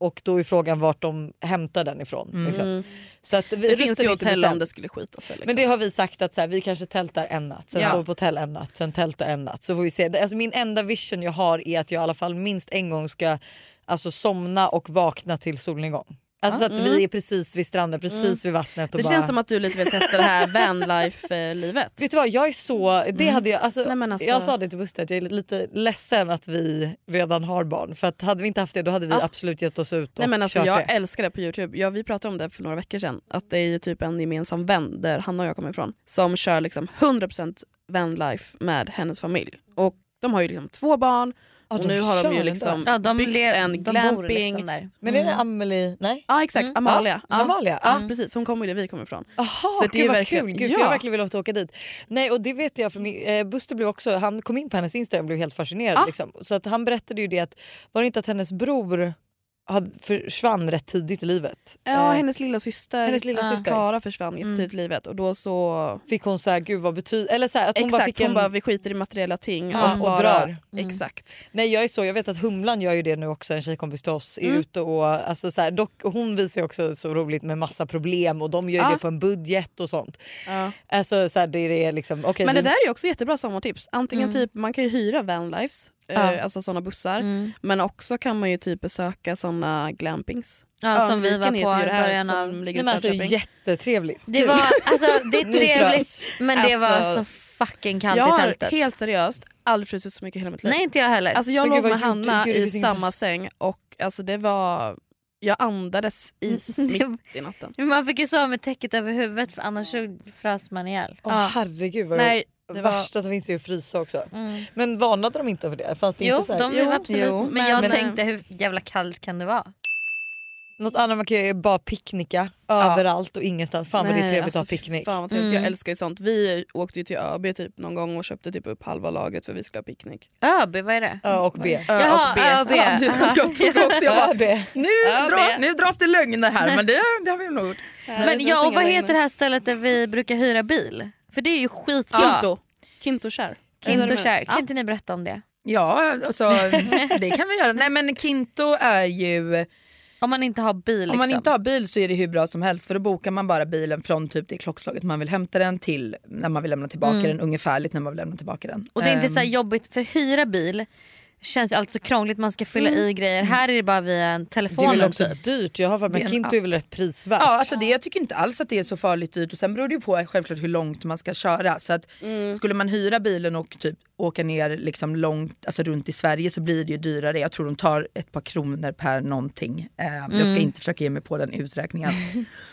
[SPEAKER 2] och då är frågan vart de hämtar den ifrån. Liksom. Så att vi
[SPEAKER 3] Mm. Det
[SPEAKER 2] rutten
[SPEAKER 3] finns
[SPEAKER 2] är
[SPEAKER 3] ju
[SPEAKER 2] inte
[SPEAKER 3] hotell om
[SPEAKER 2] bestämd.
[SPEAKER 3] det skulle skita sig. Liksom.
[SPEAKER 2] Men det har vi sagt att så här, vi kanske tältar en natt, sen
[SPEAKER 3] Ja.
[SPEAKER 2] sover på hotell en natt, sen tältar en natt. Så får vi se. Det- Alltså, min enda vision jag har är att jag i alla fall minst en gång ska alltså, somna och vakna till solnedgång. Alltså så att vi är precis vid stranden, precis vid vattnet. Och
[SPEAKER 3] Mm. det
[SPEAKER 2] bara...
[SPEAKER 3] känns som att du lite vill testa det här vanlife-livet.
[SPEAKER 2] Vet du vad, jag är så... Det hade jag, alltså,
[SPEAKER 3] Mm. Nej, men alltså-
[SPEAKER 2] jag sa det till Buster att jag är lite ledsen att vi redan har barn. För att hade vi inte haft det då hade vi
[SPEAKER 3] Ja.
[SPEAKER 2] absolut gett oss ut och
[SPEAKER 3] Nej, men alltså,
[SPEAKER 2] kört
[SPEAKER 3] jag
[SPEAKER 2] det.
[SPEAKER 3] älskar det på Youtube. Ja, vi pratade om det för några veckor sedan. Att det är ju typ en gemensam vän där Hanna och jag kommer ifrån som kör liksom 100% vanlife med hennes familj. Och De har ju liksom två barn,
[SPEAKER 2] Ja,
[SPEAKER 3] och
[SPEAKER 2] de
[SPEAKER 3] nu har
[SPEAKER 2] kör
[SPEAKER 3] de ju
[SPEAKER 2] den
[SPEAKER 3] liksom
[SPEAKER 1] Ja, de
[SPEAKER 3] byggt
[SPEAKER 1] le-
[SPEAKER 3] en
[SPEAKER 1] de
[SPEAKER 3] glamping.
[SPEAKER 1] bor liksom där.
[SPEAKER 2] Men är det Amelie? Nej?
[SPEAKER 3] Ja exakt, Amalia.
[SPEAKER 2] Mm. Ja,
[SPEAKER 3] Ja.
[SPEAKER 2] Amalia,
[SPEAKER 3] Ja,
[SPEAKER 2] mm.
[SPEAKER 3] precis, hon kommer ju där vi kommer ifrån.
[SPEAKER 2] Jaha,
[SPEAKER 3] Så det är
[SPEAKER 2] gud vad
[SPEAKER 3] verkligen-
[SPEAKER 2] kul. Gud, för
[SPEAKER 3] Ja.
[SPEAKER 2] jag har verkligen velat åka dit. Nej, och det vet jag för min, eh, Buster blev också, han kom in på hennes Instagram och blev helt fascinerad.
[SPEAKER 3] Ah.
[SPEAKER 2] Liksom. Så att han berättade ju det att, var det inte att hennes bror hade, försvann rätt tidigt i livet?
[SPEAKER 3] Ja,
[SPEAKER 2] Eh,
[SPEAKER 3] hennes lilla syster,
[SPEAKER 2] hennes lilla syster.
[SPEAKER 3] Klara försvann jättetidigt i livet och då så...
[SPEAKER 2] Fick hon så här, gud vad betyder... Eller så här, att hon
[SPEAKER 3] exakt,
[SPEAKER 2] bara fick
[SPEAKER 3] hon
[SPEAKER 2] en...
[SPEAKER 3] bara vi skiter i materiella ting
[SPEAKER 2] Ja,
[SPEAKER 3] och,
[SPEAKER 2] och
[SPEAKER 3] bara, Mm.
[SPEAKER 2] drar. Mm.
[SPEAKER 3] Exakt.
[SPEAKER 2] Nej jag är så, jag vet att Humlan gör ju det nu också, en tjejkompis till oss. Är ute och, alltså, så här, dock, hon visar ju också så roligt med massa problem och de gör ju
[SPEAKER 3] Ja.
[SPEAKER 2] det på en budget och sånt.
[SPEAKER 3] Ja.
[SPEAKER 2] Alltså så här, det, det är liksom, okej
[SPEAKER 3] Men det
[SPEAKER 2] vi-
[SPEAKER 3] där är ju också jättebra sommartips.
[SPEAKER 2] Mm.
[SPEAKER 3] Antingen typ, man kan ju hyra vanlives, eh, alltså sådana bussar.
[SPEAKER 2] Mm.
[SPEAKER 3] Men också kan man ju typ besöka sådana glampings.
[SPEAKER 1] Ja, som vi var
[SPEAKER 3] Örnviken
[SPEAKER 1] på i
[SPEAKER 3] heter ju det här
[SPEAKER 1] början
[SPEAKER 3] som
[SPEAKER 1] av...
[SPEAKER 3] ligger
[SPEAKER 2] Nej,
[SPEAKER 3] i
[SPEAKER 2] men alltså,
[SPEAKER 3] Söderköping.
[SPEAKER 2] jättetrevligt.
[SPEAKER 1] Det, var, alltså, det är
[SPEAKER 2] Ny
[SPEAKER 1] trevligt men det var
[SPEAKER 3] Alltså-
[SPEAKER 1] så fucking kallt
[SPEAKER 3] jag
[SPEAKER 1] i
[SPEAKER 3] har
[SPEAKER 1] tältet.
[SPEAKER 3] helt seriöst aldrig frusit så mycket i hela mitt liv.
[SPEAKER 1] Nej inte jag heller.
[SPEAKER 3] Alltså jag
[SPEAKER 2] Men
[SPEAKER 3] låg
[SPEAKER 2] gud, vad
[SPEAKER 3] med
[SPEAKER 2] gjorde-
[SPEAKER 3] Hanna
[SPEAKER 2] gud, det
[SPEAKER 3] i
[SPEAKER 2] finns ingen-
[SPEAKER 3] samma säng och alltså det var... Jag andades is mitt i natten.
[SPEAKER 1] Men Man fick ju sova med täcket över huvudet för annars så frös man ihjäl.
[SPEAKER 2] Åh,
[SPEAKER 3] Ja.
[SPEAKER 2] herregud vad
[SPEAKER 3] Nej, det
[SPEAKER 2] det
[SPEAKER 3] var-
[SPEAKER 2] värsta som finns är ju att frysa också. Men varnade de inte för det? Fanns det
[SPEAKER 1] Jo,
[SPEAKER 2] inte så här,
[SPEAKER 1] de
[SPEAKER 3] Jo,
[SPEAKER 1] absolut.
[SPEAKER 3] jo,
[SPEAKER 1] men,
[SPEAKER 3] men-
[SPEAKER 1] jag
[SPEAKER 3] men-
[SPEAKER 1] tänkte hur jävla kallt kan det vara?
[SPEAKER 2] Något annat man kan göra är bara picknicka överallt och ingenstans. Fan vad det är trevligt att ha picknick.
[SPEAKER 3] alltså, Fan vad trevligt. Jag älskar ju sånt. Vi åkte ju till ÖB typ någon gång och köpte typ upp halva lagret för vi skulle ha picknick.
[SPEAKER 1] ÖB vad är det?
[SPEAKER 2] Ö och B.
[SPEAKER 3] Ö
[SPEAKER 1] Jaha,
[SPEAKER 3] och B.
[SPEAKER 1] Ö och B.
[SPEAKER 3] Ja, du-
[SPEAKER 1] Aha.
[SPEAKER 4] Jag tog också, jag bara,
[SPEAKER 2] Ö, B.
[SPEAKER 4] nu,
[SPEAKER 1] Ja,
[SPEAKER 4] dra,
[SPEAKER 1] men-
[SPEAKER 4] nu dras det lögner här men det, det har vi nog gjort.
[SPEAKER 1] Men ja, och vad heter det
[SPEAKER 3] det?
[SPEAKER 1] här stället där vi brukar hyra bil? För det är ju skitkul.
[SPEAKER 3] Kinto. Kinto Kär.
[SPEAKER 1] Kinto Kär. Kan inte ni berätta om det?
[SPEAKER 4] Ja, alltså, det kan vi göra. Nej men Kinto är ju,
[SPEAKER 1] Om man inte har bil liksom.
[SPEAKER 4] om man inte har bil så är det hur bra som helst för då bokar man bara bilen från typ det klockslaget man vill hämta den till när man vill lämna tillbaka den, ungefärligt när man vill lämna tillbaka den.
[SPEAKER 1] Mm. Och det är inte
[SPEAKER 4] Ehm,
[SPEAKER 1] så här jobbigt för hyra bil känns ju alltid så krångligt man ska fylla i grejer. Här är det bara via en
[SPEAKER 2] Det är
[SPEAKER 1] telefonen
[SPEAKER 2] väl också
[SPEAKER 1] typ.
[SPEAKER 2] dyrt? Jag har för mig
[SPEAKER 4] Det är en
[SPEAKER 2] Kinto är väl rätt prisvärt?
[SPEAKER 4] Ja, alltså det, jag tycker inte alls att det är så farligt dyrt och sen beror det ju på självklart hur långt man ska köra. Så att
[SPEAKER 1] Mm.
[SPEAKER 4] Skulle man hyra bilen och typ åka ner liksom långt, alltså runt i Sverige så blir det ju dyrare. Jag tror de tar ett par kronor per någonting. Eh, Jag ska inte försöka ge mig på den uträkningen.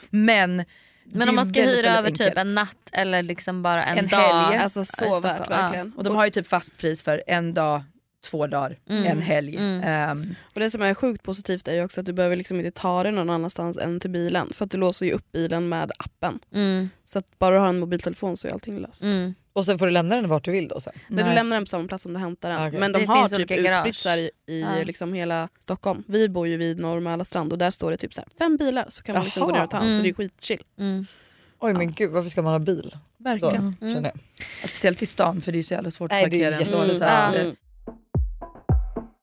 [SPEAKER 4] Men, det är
[SPEAKER 1] Mm. Men om man ska
[SPEAKER 4] väldigt,
[SPEAKER 1] hyra över
[SPEAKER 4] väldigt
[SPEAKER 1] typ en
[SPEAKER 4] enkelt.
[SPEAKER 1] natt eller liksom bara en,
[SPEAKER 4] En
[SPEAKER 1] dag.
[SPEAKER 4] helg.
[SPEAKER 3] Alltså
[SPEAKER 1] i
[SPEAKER 3] så
[SPEAKER 1] Stockholm.
[SPEAKER 3] värt
[SPEAKER 1] Ja.
[SPEAKER 3] verkligen.
[SPEAKER 4] Och de har ju typ fast pris för en dag, två dagar,
[SPEAKER 1] Mm,
[SPEAKER 4] en helg. Ehm,
[SPEAKER 3] Och det som är sjukt positivt är ju också att du behöver liksom inte ta dig någon annanstans än till bilen. För att du låser ju upp bilen med appen.
[SPEAKER 1] Mm,
[SPEAKER 3] Så att bara du har en mobiltelefon så är allting löst.
[SPEAKER 1] mm.
[SPEAKER 2] Och sen får du lämna den vart du vill då sen?
[SPEAKER 3] Där
[SPEAKER 4] nej.
[SPEAKER 3] du lämnar den på samma plats som du hämtar den.
[SPEAKER 2] Okej.
[SPEAKER 3] Men de
[SPEAKER 1] Det
[SPEAKER 3] har
[SPEAKER 1] finns
[SPEAKER 3] typ
[SPEAKER 1] olika garage.
[SPEAKER 3] utspritt så här i, i
[SPEAKER 1] Ja.
[SPEAKER 3] liksom hela Stockholm. Vi bor ju vid Norr strand och där står det typ så här, fem bilar så kan man liksom
[SPEAKER 2] Jaha.
[SPEAKER 3] gå ner och ta en. Så det är skitchill.
[SPEAKER 1] mm.
[SPEAKER 2] Oj men gud varför ska man ha bil? Då,
[SPEAKER 3] Verkligen.
[SPEAKER 2] känner jag.
[SPEAKER 4] speciellt i stan för det är ju så jävla svårt att
[SPEAKER 2] Nej, det är
[SPEAKER 4] parkera. ändå,
[SPEAKER 2] jättedåligt.
[SPEAKER 4] så att,
[SPEAKER 1] Mm.
[SPEAKER 4] eh,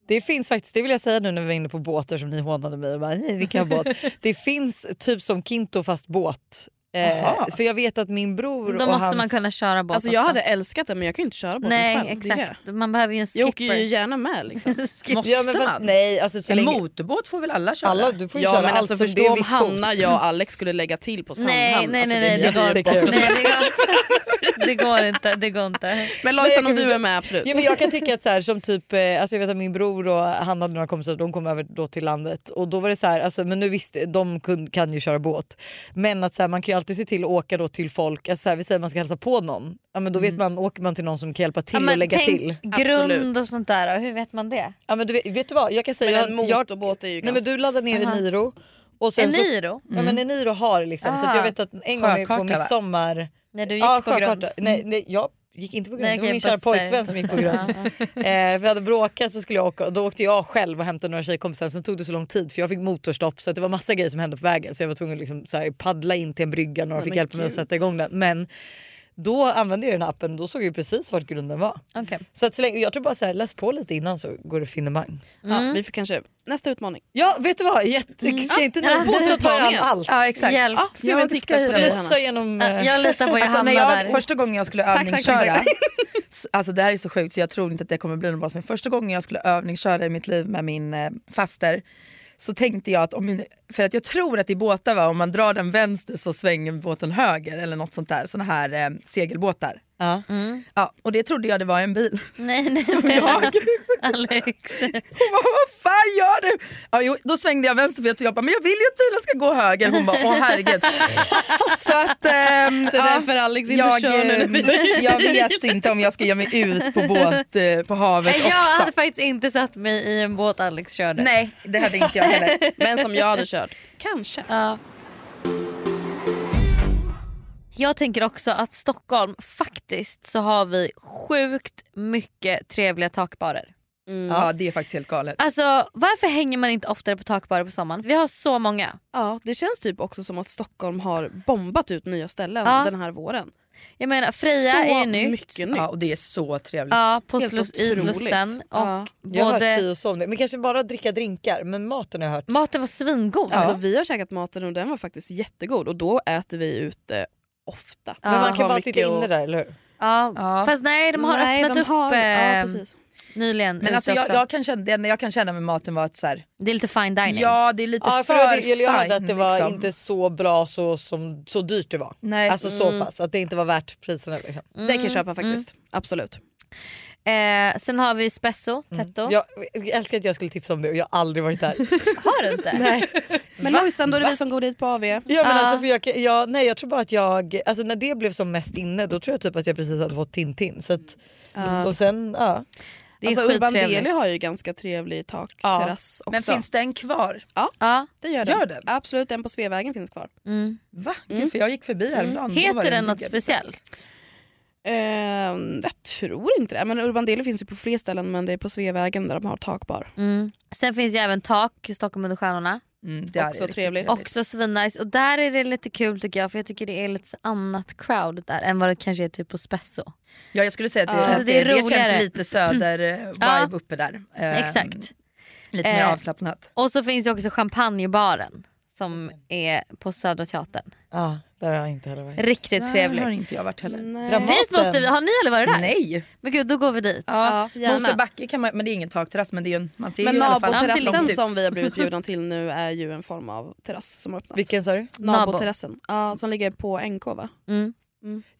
[SPEAKER 2] Det finns faktiskt, det vill jag säga nu när vi var inne på båtar som ni hånade mig och bara, nej vi kan ha båt. det finns typ som Kinto fast båt. Eh,
[SPEAKER 4] Jaha.
[SPEAKER 2] för jag vet att min bror
[SPEAKER 1] Då
[SPEAKER 2] och
[SPEAKER 1] måste
[SPEAKER 2] hans...
[SPEAKER 1] man kunna köra båt
[SPEAKER 3] Alltså jag
[SPEAKER 1] också.
[SPEAKER 3] hade älskat det men jag kan ju inte köra båten
[SPEAKER 1] Nej
[SPEAKER 3] själv. Det är det.
[SPEAKER 1] exakt, man behöver ju en
[SPEAKER 3] Jag åker ju
[SPEAKER 1] skipper.
[SPEAKER 3] gärna med liksom.
[SPEAKER 4] Måste
[SPEAKER 2] ja, men fast,
[SPEAKER 4] man?
[SPEAKER 2] Nej alltså så
[SPEAKER 4] En
[SPEAKER 2] länge...
[SPEAKER 4] motorbåt får väl alla köra?
[SPEAKER 2] Alla, du får ju
[SPEAKER 3] Ja
[SPEAKER 2] köra
[SPEAKER 3] men
[SPEAKER 2] allt
[SPEAKER 3] alltså
[SPEAKER 2] som det
[SPEAKER 3] förstå
[SPEAKER 2] är
[SPEAKER 3] om
[SPEAKER 2] vid
[SPEAKER 3] Hanna,
[SPEAKER 2] stort.
[SPEAKER 3] jag och Alex skulle lägga till på Sandhamn.
[SPEAKER 1] Nej nej
[SPEAKER 3] alltså,
[SPEAKER 1] nej, nej det,
[SPEAKER 3] blir
[SPEAKER 1] går
[SPEAKER 3] dyrt
[SPEAKER 1] inte.
[SPEAKER 3] bortom.
[SPEAKER 1] Nej, det, går inte. det går inte. Det går inte.
[SPEAKER 2] Nej, jag
[SPEAKER 3] Men Lojsan
[SPEAKER 2] kan
[SPEAKER 3] om du
[SPEAKER 2] förstå.
[SPEAKER 3] är med absolut.
[SPEAKER 2] Ja, men jag kan tycka att så här, som typ, eh, alltså jag vet att min bror och han hade några kompisar de kom över då till landet och då var det så här, alltså, men nu visst de kun, kan ju köra båt men att så här, man kan ju alltid se till att åka då till folk, alltså, så här, vi säger man ska hälsa på någon, ja, men då vet man, åker man till någon som kan hjälpa till och
[SPEAKER 1] men
[SPEAKER 2] lägga
[SPEAKER 1] tänk
[SPEAKER 2] till.
[SPEAKER 1] grund
[SPEAKER 3] Absolut.
[SPEAKER 1] och sånt där, hur vet man det?
[SPEAKER 2] Ja, men du vet, vet du vad, jag kan säga,
[SPEAKER 3] Men en
[SPEAKER 2] jag, jag,
[SPEAKER 3] motorbåt är ju
[SPEAKER 2] nej, men
[SPEAKER 3] ganska...
[SPEAKER 2] du laddar ner Eniro och sen så,
[SPEAKER 1] Eniro?
[SPEAKER 2] Ja, men Eniro har liksom, så att jag
[SPEAKER 1] Ah.
[SPEAKER 2] vet att en gång på
[SPEAKER 4] Sjökarta, va?
[SPEAKER 2] midsommar
[SPEAKER 1] När du gick
[SPEAKER 2] Ja,
[SPEAKER 1] på grund?
[SPEAKER 2] sjökarta. Nej, nej, jag gick inte på grund.
[SPEAKER 1] Nej,
[SPEAKER 2] det var
[SPEAKER 1] okej,
[SPEAKER 2] min kära
[SPEAKER 1] Buster.
[SPEAKER 2] pojkvän som gick på grund. eh, vi hade bråkat så skulle jag åka, och då åkte jag själv och hämtade några tjejkompisar. Sen tog det så lång tid för jag fick motorstopp så att det var massa grejer som hände på vägen. Så jag var tvungen att liksom, så här, paddla in till en brygga. Några fick
[SPEAKER 3] men
[SPEAKER 2] hjälpa mig att
[SPEAKER 3] gud.
[SPEAKER 2] sätta igång den. Men då använde jag den här appen och då såg jag ju precis vart grunden var.
[SPEAKER 1] Okej.
[SPEAKER 2] Så, att så länge, jag tror bara så här, läs på lite innan så går det finemang.
[SPEAKER 3] Ja, vi får kanske... Nästa utmaning.
[SPEAKER 2] Ja vet du vad, Jätte, ska inte
[SPEAKER 3] Ja,
[SPEAKER 2] ni på så Ah. tar jag an
[SPEAKER 3] utmaningen.
[SPEAKER 2] allt.
[SPEAKER 4] Ja exakt.
[SPEAKER 1] Hjälp.
[SPEAKER 3] Ah,
[SPEAKER 4] jag
[SPEAKER 3] jag en
[SPEAKER 4] ska
[SPEAKER 3] TikTok
[SPEAKER 4] göra
[SPEAKER 3] för dig
[SPEAKER 4] det.
[SPEAKER 3] Hanna.
[SPEAKER 2] Slussa genom...
[SPEAKER 1] Ja,
[SPEAKER 2] Eh,
[SPEAKER 1] Jag litar på
[SPEAKER 4] Alltså, när
[SPEAKER 1] Johanna
[SPEAKER 4] jag,
[SPEAKER 1] där.
[SPEAKER 4] första gången jag skulle
[SPEAKER 3] tack,
[SPEAKER 4] övningsköra,
[SPEAKER 3] tack,
[SPEAKER 4] s- alltså det här är så sjukt så jag tror inte att det kommer bli något bra, men första gången jag skulle övningsköra i mitt liv med min eh, faster så tänkte jag att, om min, för att jag tror att i båtar va, om man drar den vänster så svänger båten höger eller något sånt där, såna här eh, segelbåtar. Ja. Ja, och det trodde jag det var en bil.
[SPEAKER 1] Nej nej men
[SPEAKER 4] Jag.
[SPEAKER 1] Alex.
[SPEAKER 4] Hon bara, vad fan gör du? Ja, jo, då svängde jag vänsterfot och jag bara, men jag vill ju att bilen ska gå höger. Hon bara, åh herregud. Så att... ehm,
[SPEAKER 3] Det är
[SPEAKER 4] ja,
[SPEAKER 3] därför Alex inte
[SPEAKER 4] jag,
[SPEAKER 3] kör nu. när vi-
[SPEAKER 4] ehm, jag vet inte om jag ska ge mig ut på båt eh, på havet
[SPEAKER 1] Nej, Jag
[SPEAKER 4] också.
[SPEAKER 1] hade faktiskt inte satt mig i en båt Alex körde.
[SPEAKER 4] Nej, det hade inte jag heller.
[SPEAKER 3] Men som jag hade kört. Kanske.
[SPEAKER 1] Ja. Jag tänker också att Stockholm faktiskt så har vi sjukt mycket trevliga takbarer.
[SPEAKER 4] Ja, det är faktiskt helt galet.
[SPEAKER 1] Alltså varför hänger man inte oftare på takbarer på sommaren? Vi har så många.
[SPEAKER 3] Ja, det känns typ också som att Stockholm har bombat ut nya ställen
[SPEAKER 1] Ja.
[SPEAKER 3] den här våren.
[SPEAKER 1] Jag menar Freja
[SPEAKER 3] så
[SPEAKER 1] är ju nytt.
[SPEAKER 3] mycket nytt.
[SPEAKER 4] Ja, och det är så trevligt.
[SPEAKER 1] Ja, på
[SPEAKER 3] Helt
[SPEAKER 1] slus, i
[SPEAKER 3] otroligt.
[SPEAKER 1] Slussen. Och
[SPEAKER 3] Ja.
[SPEAKER 2] Jag har hört
[SPEAKER 1] både,
[SPEAKER 2] si och så om det. Men kanske bara dricka drinkar. Men maten har jag hört.
[SPEAKER 1] maten var svingod.
[SPEAKER 3] Alltså, vi har käkat maten och den var faktiskt jättegod och då äter vi ute ofta.
[SPEAKER 1] Ja.
[SPEAKER 2] men man kan
[SPEAKER 3] Har
[SPEAKER 2] bara
[SPEAKER 3] mycket
[SPEAKER 2] sitta inne
[SPEAKER 3] och-
[SPEAKER 2] där eller hur?
[SPEAKER 1] Ja.
[SPEAKER 4] Ja.
[SPEAKER 1] Fast nej de har
[SPEAKER 3] Nej,
[SPEAKER 1] öppnat
[SPEAKER 3] de
[SPEAKER 1] upp
[SPEAKER 3] har-
[SPEAKER 1] eh,
[SPEAKER 3] ja, precis.
[SPEAKER 1] nyligen.
[SPEAKER 4] Men
[SPEAKER 1] ute
[SPEAKER 4] alltså, jag,
[SPEAKER 1] också.
[SPEAKER 4] jag kan känna, det enda jag kan känna med maten var att så här,
[SPEAKER 1] Det är lite fine dining.
[SPEAKER 4] ja det är lite
[SPEAKER 2] Ja, för
[SPEAKER 4] för
[SPEAKER 2] jag, jag hörde att det var
[SPEAKER 4] liksom.
[SPEAKER 2] inte så bra så, som, så dyrt det var.
[SPEAKER 4] Nej.
[SPEAKER 2] Alltså så pass, att det inte var värt priserna. Liksom.
[SPEAKER 3] Det kan jag köpa faktiskt. Absolut.
[SPEAKER 1] Eh, sen har vi Spesso,
[SPEAKER 3] Mm.
[SPEAKER 1] Tetto.
[SPEAKER 2] Jag, jag älskar att jag skulle tipsa om det och jag har aldrig varit där.
[SPEAKER 1] Har du inte?
[SPEAKER 3] Men Lojsan, då är det vi som går dit på AV.
[SPEAKER 2] Ja, men alltså, för jag, kan- jag, nej, jag tror bara att jag, alltså, när det blev som mest inne då tror jag typ att jag precis hade fått Tintin. Så att, Och sen, ja.
[SPEAKER 1] Det är
[SPEAKER 3] Alltså, Urban
[SPEAKER 1] skittrevligt.
[SPEAKER 3] Deli har ju ganska trevlig takterrass också.
[SPEAKER 4] Men finns den kvar?
[SPEAKER 1] Ja. Mm.
[SPEAKER 3] det gör den.
[SPEAKER 4] Gör den?
[SPEAKER 3] Absolut, den på Sveavägen finns kvar.
[SPEAKER 4] Va? Gud, för jag gick förbi häromdagen. då var
[SPEAKER 1] Heter den något
[SPEAKER 4] ligger.
[SPEAKER 1] speciellt?
[SPEAKER 3] Ehm, jag tror inte det. Men Urban Deli finns ju på fler ställen men det är på Sveavägen där de har takbar.
[SPEAKER 1] Sen finns ju även Tak, Stockholm under stjärnorna.
[SPEAKER 4] Mm, det här är
[SPEAKER 3] Också
[SPEAKER 4] riktigt
[SPEAKER 3] trevligt.
[SPEAKER 1] Också svinnice. Och där är det lite kul tycker jag för jag tycker det är lite så annat crowd där än vad det kanske är typ på Spesso.
[SPEAKER 4] Ja, jag skulle säga att det,
[SPEAKER 1] Alltså,
[SPEAKER 4] att
[SPEAKER 1] det är
[SPEAKER 4] det, det
[SPEAKER 1] roligare. Mm.
[SPEAKER 4] känns lite söder-vibe
[SPEAKER 1] Ja.
[SPEAKER 4] uppe där.
[SPEAKER 3] Ehm,
[SPEAKER 4] Eh,
[SPEAKER 1] Exakt.
[SPEAKER 4] Lite mer
[SPEAKER 1] Eh.
[SPEAKER 4] avslappnat.
[SPEAKER 1] Och så finns ju också champagnebaren som är på Södra Teatern.
[SPEAKER 2] ja, där har jag inte heller varit.
[SPEAKER 1] Riktigt
[SPEAKER 4] Där har
[SPEAKER 1] trevligt.
[SPEAKER 4] inte jag varit heller.
[SPEAKER 1] Dit måste vi, har ni aldrig varit där?
[SPEAKER 4] Nej.
[SPEAKER 1] Men gud då går vi dit.
[SPEAKER 4] Ja,
[SPEAKER 3] Ja, gärna.
[SPEAKER 4] Mosebacke kan man, men det är ingen takterrass men det är ju en, man ser
[SPEAKER 3] Men
[SPEAKER 4] ju i alla fall att det är
[SPEAKER 3] Naboterrassen
[SPEAKER 4] långt ut.
[SPEAKER 3] som vi har blivit bjudna till nu är ju en form av terrass som har öppnat.
[SPEAKER 2] Vilken sa du?
[SPEAKER 3] Naboterrassen. Ja, som ligger på NK va?
[SPEAKER 1] Mm.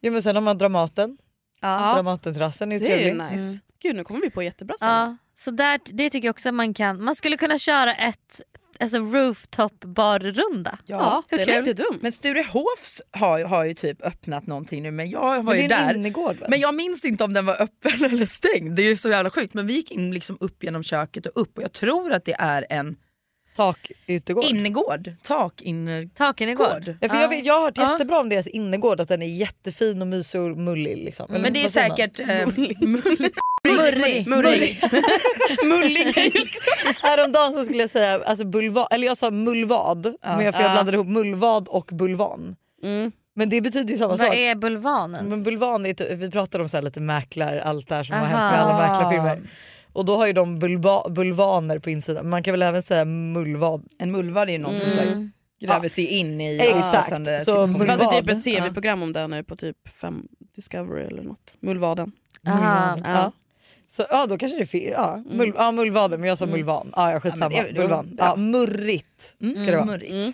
[SPEAKER 2] Jo, men sen har man Dramaten.
[SPEAKER 1] Ja.
[SPEAKER 2] Dramatenterrassen är ju
[SPEAKER 3] Det är ju
[SPEAKER 2] trevlig.
[SPEAKER 3] nice. Gud nu kommer vi på jättebra ställen.
[SPEAKER 1] Ja, så där, det tycker jag också att man kan. Man skulle kunna köra ett alltså rooftop barrunda.
[SPEAKER 3] Ja,
[SPEAKER 1] hur
[SPEAKER 3] det
[SPEAKER 1] kul?
[SPEAKER 3] är inte dumt.
[SPEAKER 4] Men Sturehofs har, har ju typ öppnat någonting nu men jag var
[SPEAKER 2] Men
[SPEAKER 4] ju
[SPEAKER 2] det är
[SPEAKER 4] där.
[SPEAKER 2] en innergård väl?
[SPEAKER 4] Men jag minns inte om den var öppen eller stängd. Det är ju så jävla sjukt. Men vi gick in liksom upp genom köket och upp och jag tror att det är en
[SPEAKER 2] Takutegård.
[SPEAKER 4] innergård. Takinnergård.
[SPEAKER 1] Taken igår.
[SPEAKER 2] Ja, för jag, vet, jag har hört
[SPEAKER 4] Ja.
[SPEAKER 2] jättebra om deras innergård, att den är jättefin och mysig och mullig. Liksom. Eller
[SPEAKER 4] Men det är
[SPEAKER 2] vad säger man?
[SPEAKER 4] säkert... Eh, mullig.
[SPEAKER 1] Murrig.
[SPEAKER 4] Mullig.
[SPEAKER 3] Mullig är ju
[SPEAKER 2] Häromdagen så skulle jag säga alltså bulva, eller jag sa mulvad, men jag, för jag blandade ihop mulvad och bulvan.
[SPEAKER 3] Mm.
[SPEAKER 2] Men det betyder ju samma
[SPEAKER 1] Vad
[SPEAKER 2] sak.
[SPEAKER 1] är Bulvanen?
[SPEAKER 2] Men bulvan är, typ- vi pratar om så här lite mäklar, allt det här som har
[SPEAKER 1] Aha.
[SPEAKER 2] hänt med alla mäklarfilmer. Och då har ju de bulva, bulvaner på insidan. Man kan väl även säga mulvad.
[SPEAKER 4] En mullvad är ju någon
[SPEAKER 1] Mm.
[SPEAKER 4] som så här gräver sig in i
[SPEAKER 2] Exakt,
[SPEAKER 4] opassande
[SPEAKER 2] så
[SPEAKER 4] situationer.
[SPEAKER 2] mullvad.
[SPEAKER 3] Fast det är typ
[SPEAKER 2] Vad?
[SPEAKER 3] ett tv-program om den nu på typ fem Discovery eller något. Mullvaden.
[SPEAKER 1] Aha.
[SPEAKER 2] Ja. Så, ja då kanske det är fel. Ja, mul, ja mulvader men jag sa mulvan. Mm. Ja, ja skitsamma.
[SPEAKER 4] Ja, men det- det-
[SPEAKER 2] bulvan. Ja, Mm, murrigt ska det vara.
[SPEAKER 4] Murrig.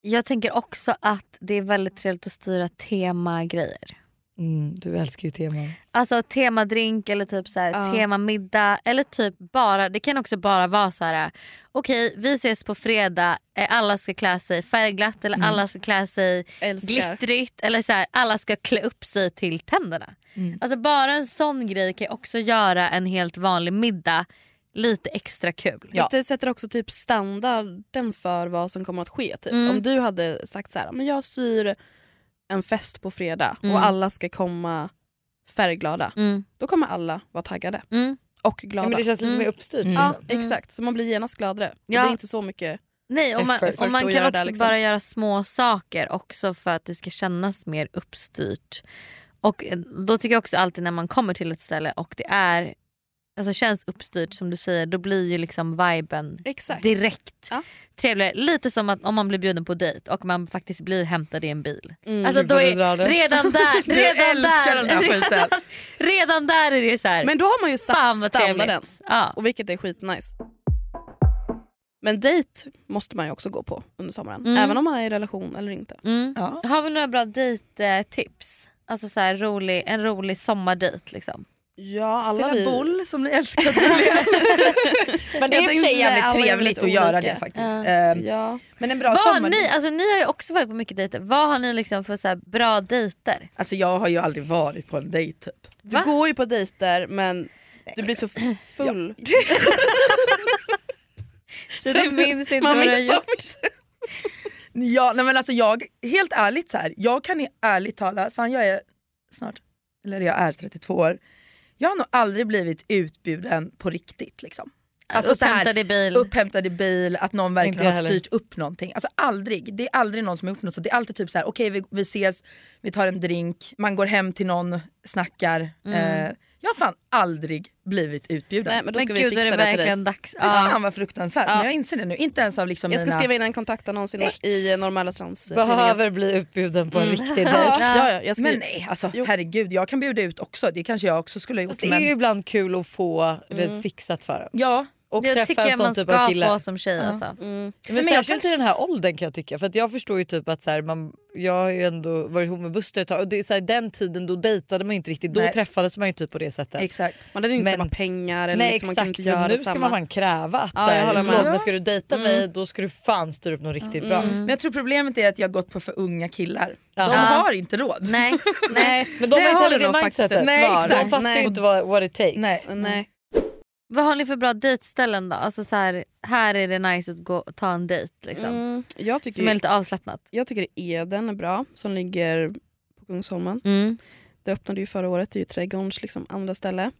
[SPEAKER 1] Jag tänker också att det är väldigt trevligt att styra temagrejer.
[SPEAKER 2] Mm, du älskar ju teman.
[SPEAKER 1] Alltså temadrink eller typ så här, temamiddag eller typ bara, det kan också bara vara så här. okej vi ses på fredag, eh, alla ska klä sig färgglatt eller alla ska klä sig
[SPEAKER 3] Älskar.
[SPEAKER 1] glittrigt eller så här, alla ska klä upp sig till tänderna. Alltså bara en sån grej kan ju också göra en helt vanlig middag lite extra kul.
[SPEAKER 3] Ja. Det sätter också typ standarden för vad som kommer att ske. Typ. Om du hade sagt så här, men jag syr en fest på fredag och alla ska komma färgglada.
[SPEAKER 1] Mm.
[SPEAKER 3] Då kommer alla vara taggade
[SPEAKER 1] Mm.
[SPEAKER 3] och
[SPEAKER 2] Ja,
[SPEAKER 3] glada.
[SPEAKER 2] men det känns lite mer uppstyrt.
[SPEAKER 3] Ja,
[SPEAKER 2] Liksom.
[SPEAKER 3] exakt, så man blir genast gladare. Och
[SPEAKER 1] Ja.
[SPEAKER 3] Det är inte så mycket
[SPEAKER 1] Nej, och man,
[SPEAKER 3] effort
[SPEAKER 1] och man
[SPEAKER 3] att
[SPEAKER 1] kan
[SPEAKER 3] göra
[SPEAKER 1] också
[SPEAKER 3] det, liksom.
[SPEAKER 1] bara göra små saker också för att det ska kännas mer uppstyrt. Och eh, då tycker jag också alltid när man kommer till ett ställe och det är alltså känns uppstyrt som du säger, då blir ju liksom viben
[SPEAKER 3] Exakt.
[SPEAKER 1] direkt
[SPEAKER 3] Ja.
[SPEAKER 1] trevligare. Lite som att om man blir bjuden på dejt och man faktiskt blir hämtad i en bil.
[SPEAKER 3] Mm.
[SPEAKER 1] Alltså då
[SPEAKER 2] Gud, vad
[SPEAKER 1] är,
[SPEAKER 2] du drar det.
[SPEAKER 1] redan där, redan
[SPEAKER 4] älskar den där
[SPEAKER 1] där,
[SPEAKER 4] skiten.
[SPEAKER 1] redan där är det så här.
[SPEAKER 3] Men då har man ju satt
[SPEAKER 1] fan vad
[SPEAKER 3] standarden.
[SPEAKER 1] trevligt. Ja.
[SPEAKER 3] Och vilket är skitnice. Men dejt måste man ju också gå Mm. på under sommaren. Även om man är i relation eller inte.
[SPEAKER 1] Mm.
[SPEAKER 4] Ja.
[SPEAKER 1] Har vi några bra dejttips? Alltså så här, rolig, en rolig sommardejt liksom.
[SPEAKER 3] Ja, alla
[SPEAKER 4] Spela
[SPEAKER 3] vi...
[SPEAKER 4] boll som ni älskar tydligen. Men det är i och för
[SPEAKER 3] tänkte
[SPEAKER 4] sig
[SPEAKER 3] säga, alla
[SPEAKER 4] jävligt
[SPEAKER 3] är
[SPEAKER 4] trevligt
[SPEAKER 3] väldigt
[SPEAKER 4] att göra
[SPEAKER 3] olika.
[SPEAKER 4] det faktiskt.
[SPEAKER 1] Ja.
[SPEAKER 4] Ehm,
[SPEAKER 3] Ja.
[SPEAKER 4] Men en bra
[SPEAKER 1] Vad har
[SPEAKER 4] sommar.
[SPEAKER 1] ni, alltså, ni har ju också varit på mycket dejter, vad har ni liksom för så här, bra dejter?
[SPEAKER 4] Alltså jag har ju aldrig varit på en dejt typ.
[SPEAKER 3] Du
[SPEAKER 1] Va?
[SPEAKER 3] går ju på dejter men du blir så full.
[SPEAKER 1] Så du minns inte vad du har gjort?
[SPEAKER 4] ja, nej men alltså jag, helt ärligt så här, jag kan i ärligt tala, fan jag är snart, eller jag är 32 år. Jag har nog aldrig blivit utbjuden på riktigt liksom. så här,
[SPEAKER 1] Upphämtad i bil.
[SPEAKER 4] upphämtad i bil, att någon
[SPEAKER 2] Inte
[SPEAKER 4] verkligen
[SPEAKER 2] jag
[SPEAKER 4] har
[SPEAKER 2] heller.
[SPEAKER 4] styrt upp någonting. Alltså aldrig, det är aldrig någon som har gjort något så. Det är alltid typ så här: okej vi, vi ses, vi tar en drink, man går hem till någon, snackar. Eh, jag har fan aldrig blivit utbjuden.
[SPEAKER 3] Mm. Nej men då
[SPEAKER 1] Men
[SPEAKER 3] ska
[SPEAKER 1] gud
[SPEAKER 3] vi
[SPEAKER 1] då är
[SPEAKER 3] fixa
[SPEAKER 1] det
[SPEAKER 3] det, till dig.
[SPEAKER 1] verkligen dags.
[SPEAKER 4] Fy
[SPEAKER 1] Ja.
[SPEAKER 4] Fan vad fruktansvärt, men jag inser det nu. Inte ens av liksom
[SPEAKER 3] Jag ska
[SPEAKER 4] mina...
[SPEAKER 3] skriva in en kontaktannons i, i eh, Norr Mälarstrands eh, tidningar.
[SPEAKER 2] Behöver bli utbjuden på en riktig dejt.
[SPEAKER 3] Ja, ja, ja, jag ska...
[SPEAKER 4] Men nej alltså herregud, jag kan bjuda ut också. Det kanske jag också skulle ha gjort.
[SPEAKER 2] Det är
[SPEAKER 4] Men...
[SPEAKER 2] ju ibland kul att få det fixat för en.
[SPEAKER 4] Ja,
[SPEAKER 2] Och
[SPEAKER 1] Jag
[SPEAKER 2] träffa
[SPEAKER 1] tycker
[SPEAKER 2] en
[SPEAKER 1] man ska
[SPEAKER 2] sån typ av
[SPEAKER 1] få
[SPEAKER 2] kille.
[SPEAKER 1] som tjej alltså.
[SPEAKER 2] Men särskilt i den här åldern kan jag tycka. För att jag förstår ju typ att så här, man, jag har ju ändå varit ihop med Buster ett tag och det är så här, den tiden då dejtade man ju inte riktigt. Då
[SPEAKER 4] Nej.
[SPEAKER 2] träffades man ju typ på det sättet.
[SPEAKER 4] exakt.
[SPEAKER 3] Man hade ju inte
[SPEAKER 2] Men-
[SPEAKER 3] samma pengar eller
[SPEAKER 2] Nej
[SPEAKER 3] liksom, man
[SPEAKER 2] exakt,
[SPEAKER 3] kan inte
[SPEAKER 2] men
[SPEAKER 3] göra
[SPEAKER 2] nu ska
[SPEAKER 3] samma.
[SPEAKER 2] man fan kräva att
[SPEAKER 3] Ja,
[SPEAKER 2] så
[SPEAKER 3] jag
[SPEAKER 2] här,
[SPEAKER 3] håller
[SPEAKER 2] förlåt,
[SPEAKER 3] med. Mm.
[SPEAKER 2] men ska du dejta mig då ska du fan styra upp något riktigt bra.
[SPEAKER 1] Mm.
[SPEAKER 4] Men jag tror problemet är att jag har gått på för unga killar. De
[SPEAKER 2] Ja.
[SPEAKER 4] har inte råd.
[SPEAKER 1] Nej, nej.
[SPEAKER 2] Men de
[SPEAKER 3] Det
[SPEAKER 2] har inte
[SPEAKER 3] har
[SPEAKER 2] heller
[SPEAKER 3] du
[SPEAKER 2] det
[SPEAKER 3] nog faktiskt
[SPEAKER 2] mindsetet.
[SPEAKER 3] ett
[SPEAKER 2] Nej,
[SPEAKER 3] svar.
[SPEAKER 2] exakt. De fattar
[SPEAKER 4] Nej.
[SPEAKER 2] ju inte vad what it takes.
[SPEAKER 4] Nej.
[SPEAKER 3] Nej.
[SPEAKER 1] Vad har ni för bra dejtställen då? Alltså så här, här är det nice att gå, ta en dejt liksom.
[SPEAKER 3] Mm. Jag, tycker,
[SPEAKER 1] Som är lite avslappnat.
[SPEAKER 3] jag tycker Eden är bra som ligger på Kungsholmen.
[SPEAKER 1] Mm.
[SPEAKER 3] Det öppnade ju förra året, det är ju trädgårdens liksom, andra ställe.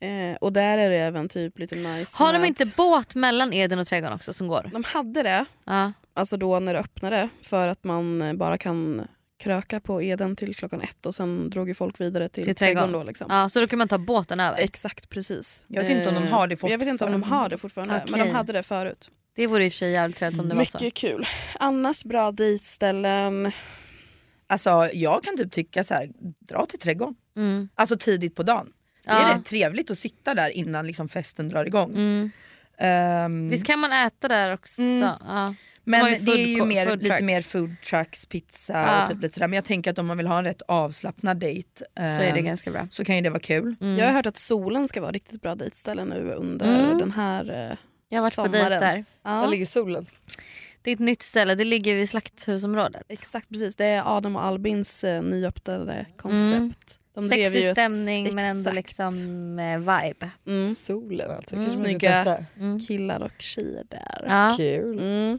[SPEAKER 3] Eh, och där är det även typ lite nice
[SPEAKER 1] Har de
[SPEAKER 3] med-
[SPEAKER 1] inte båt mellan Eden och trädgården också som går?
[SPEAKER 3] De hade det,
[SPEAKER 1] Ja.
[SPEAKER 3] alltså då när det öppnade för att man eh, bara kan kröka på Eden till klockan ett och sen drog ju folk vidare till,
[SPEAKER 1] Till trädgården.
[SPEAKER 3] trädgården då liksom.
[SPEAKER 1] Ja, så då kan man ta båten över.
[SPEAKER 3] Exakt precis.
[SPEAKER 4] Jag vet inte om de
[SPEAKER 3] Eh,
[SPEAKER 4] har det
[SPEAKER 3] Jag vet inte om de
[SPEAKER 4] fortfarande.
[SPEAKER 3] har det fortfarande men de
[SPEAKER 1] Okej.
[SPEAKER 3] hade det förut.
[SPEAKER 1] Det vore i och för sig jävligt trevligt om det var så.
[SPEAKER 3] Mycket kul. Annars bra dejtställen.
[SPEAKER 4] Alltså jag kan typ tycka så här, dra till trädgården.
[SPEAKER 1] Mm.
[SPEAKER 4] Alltså tidigt på dagen. Det är
[SPEAKER 1] Ja.
[SPEAKER 4] rätt trevligt att sitta där innan liksom festen drar igång.
[SPEAKER 1] Mm.
[SPEAKER 4] Ehm,
[SPEAKER 1] Visst kan man äta där också?
[SPEAKER 4] Mm.
[SPEAKER 1] Ja. har ju
[SPEAKER 4] men det
[SPEAKER 1] food
[SPEAKER 4] är ju
[SPEAKER 1] co-
[SPEAKER 4] mer,
[SPEAKER 1] food
[SPEAKER 4] lite
[SPEAKER 1] trucks.
[SPEAKER 4] mer food trucks, pizza
[SPEAKER 1] Ja.
[SPEAKER 4] och typ lite sådär. Men jag tänker att om man vill ha en rätt avslappnad dejt
[SPEAKER 1] Så är det
[SPEAKER 4] ehm,
[SPEAKER 1] ganska bra.
[SPEAKER 4] så kan ju det vara kul.
[SPEAKER 1] Mm.
[SPEAKER 3] Jag har hört att solen ska vara riktigt bra dejtställe nu under
[SPEAKER 1] Mm.
[SPEAKER 3] den här eh,
[SPEAKER 1] Jag har varit
[SPEAKER 3] sommaren.
[SPEAKER 1] på dejt där.
[SPEAKER 3] Ja,
[SPEAKER 2] Var ligger solen?
[SPEAKER 1] Det är ett nytt ställe, det ligger vid Slakthusområdet.
[SPEAKER 3] Exakt precis, det är Adam och Albins eh, nyöppnade koncept. De drev ju
[SPEAKER 1] Mm. Sexig
[SPEAKER 3] ett-
[SPEAKER 1] stämning men ändå
[SPEAKER 3] Exakt.
[SPEAKER 1] liksom eh, vibe.
[SPEAKER 3] Mm.
[SPEAKER 2] Solen alltså.
[SPEAKER 1] Mm.
[SPEAKER 2] Kanske man ska
[SPEAKER 3] Snygga.
[SPEAKER 2] testa.
[SPEAKER 3] Killar och tjejer där.
[SPEAKER 1] Ja.
[SPEAKER 2] Kul.
[SPEAKER 3] Mm.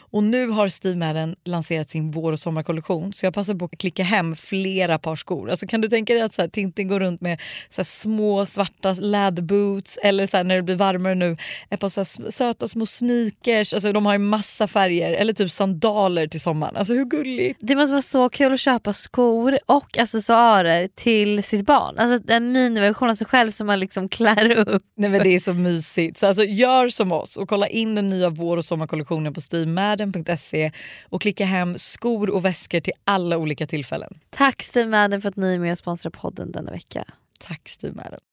[SPEAKER 2] Och nu har Steve Madden lanserat sin vår och sommarkollektion så jag passar på att klicka hem flera par skor. Alltså, kan du tänka dig att så här, Tintin går runt med så här, små svarta läderboots eller så här, när det blir varmare nu ett par så här, sm- söta små sneakers. Alltså, de har ju massa färger eller typ sandaler till sommaren. Alltså hur gulligt?
[SPEAKER 1] Det måste vara så kul att köpa skor och accessoarer till sitt barn. Alltså en miniversion av sig själv som man liksom klär upp.
[SPEAKER 2] Nej men det är så mysigt. Så alltså, gör som oss och kolla in den nya vår och sommarkollektionen på steamadden.se och klicka hem skor och väskor till alla olika tillfällen.
[SPEAKER 1] Tack Steve Madden för att ni är med och sponsrar podden denna vecka.
[SPEAKER 2] Tack Steamadden.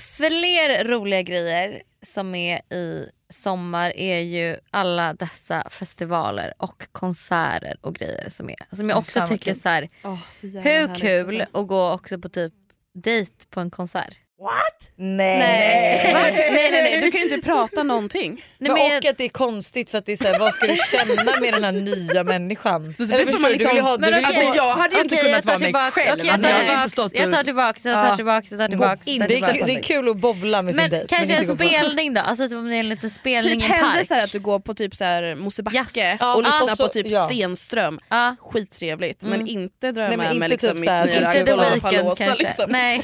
[SPEAKER 1] fler roliga grejer som är i sommar är ju alla dessa festivaler och konserter och grejer som är. Som jag också
[SPEAKER 4] Fan, vad
[SPEAKER 1] tycker
[SPEAKER 4] kul.
[SPEAKER 1] så här,
[SPEAKER 3] Åh, så jävla
[SPEAKER 1] hur
[SPEAKER 3] härligt,
[SPEAKER 1] kul
[SPEAKER 3] alltså.
[SPEAKER 1] att gå också på typ dejt på en konsert?
[SPEAKER 2] Nej.
[SPEAKER 3] Va? Nej, nej, nej, du kan ju inte prata någonting. Typ
[SPEAKER 1] Nej,
[SPEAKER 2] men
[SPEAKER 1] men
[SPEAKER 2] och
[SPEAKER 1] jag-
[SPEAKER 2] att det är konstigt för att det är så här, vad ska du känna med den här nya människan? Eller förstår
[SPEAKER 3] man
[SPEAKER 2] du, du vill ju ha, du
[SPEAKER 1] Men
[SPEAKER 2] vill ju
[SPEAKER 1] okej.
[SPEAKER 2] ha-
[SPEAKER 4] Alltså, jag hade ju inte
[SPEAKER 1] Okej, jag
[SPEAKER 4] kunnat
[SPEAKER 1] tar
[SPEAKER 4] vara mig
[SPEAKER 1] tillbaka-
[SPEAKER 4] själv.
[SPEAKER 1] okej, jag
[SPEAKER 4] Alltså,
[SPEAKER 1] tar
[SPEAKER 4] jag hade inte
[SPEAKER 1] tillbaks,
[SPEAKER 4] stått
[SPEAKER 1] jag tar
[SPEAKER 4] och-
[SPEAKER 1] tillbaks, jag tar
[SPEAKER 4] Ja.
[SPEAKER 1] tillbaks, jag tar
[SPEAKER 2] Gå
[SPEAKER 1] tillbaks.
[SPEAKER 2] in.
[SPEAKER 1] jag tar
[SPEAKER 2] Det är,
[SPEAKER 1] tillbaks.
[SPEAKER 2] kul, det är kul att bowla med sin
[SPEAKER 1] Men
[SPEAKER 2] dejt.
[SPEAKER 1] kanske
[SPEAKER 2] inte
[SPEAKER 1] en
[SPEAKER 2] gå på-
[SPEAKER 1] spelning då, alltså typ om det är en liten spelning
[SPEAKER 3] Typ
[SPEAKER 1] i en
[SPEAKER 3] hellre
[SPEAKER 1] park.
[SPEAKER 3] så här att du går på typ så här Mosebacke
[SPEAKER 1] Yes.
[SPEAKER 3] och
[SPEAKER 1] Ja,
[SPEAKER 3] lyssnar
[SPEAKER 2] alltså,
[SPEAKER 3] på typ
[SPEAKER 2] ja.
[SPEAKER 3] Stenström.
[SPEAKER 1] Ja. Mm.
[SPEAKER 3] Skittrevligt men inte dra
[SPEAKER 2] Nej, men
[SPEAKER 3] med
[SPEAKER 2] inte
[SPEAKER 3] mig liksom
[SPEAKER 2] typ
[SPEAKER 3] mitt
[SPEAKER 2] så här-
[SPEAKER 3] nya
[SPEAKER 1] Inte The
[SPEAKER 3] Lollapalooza,
[SPEAKER 1] Weeknd kanske.
[SPEAKER 3] liksom.
[SPEAKER 1] Nej.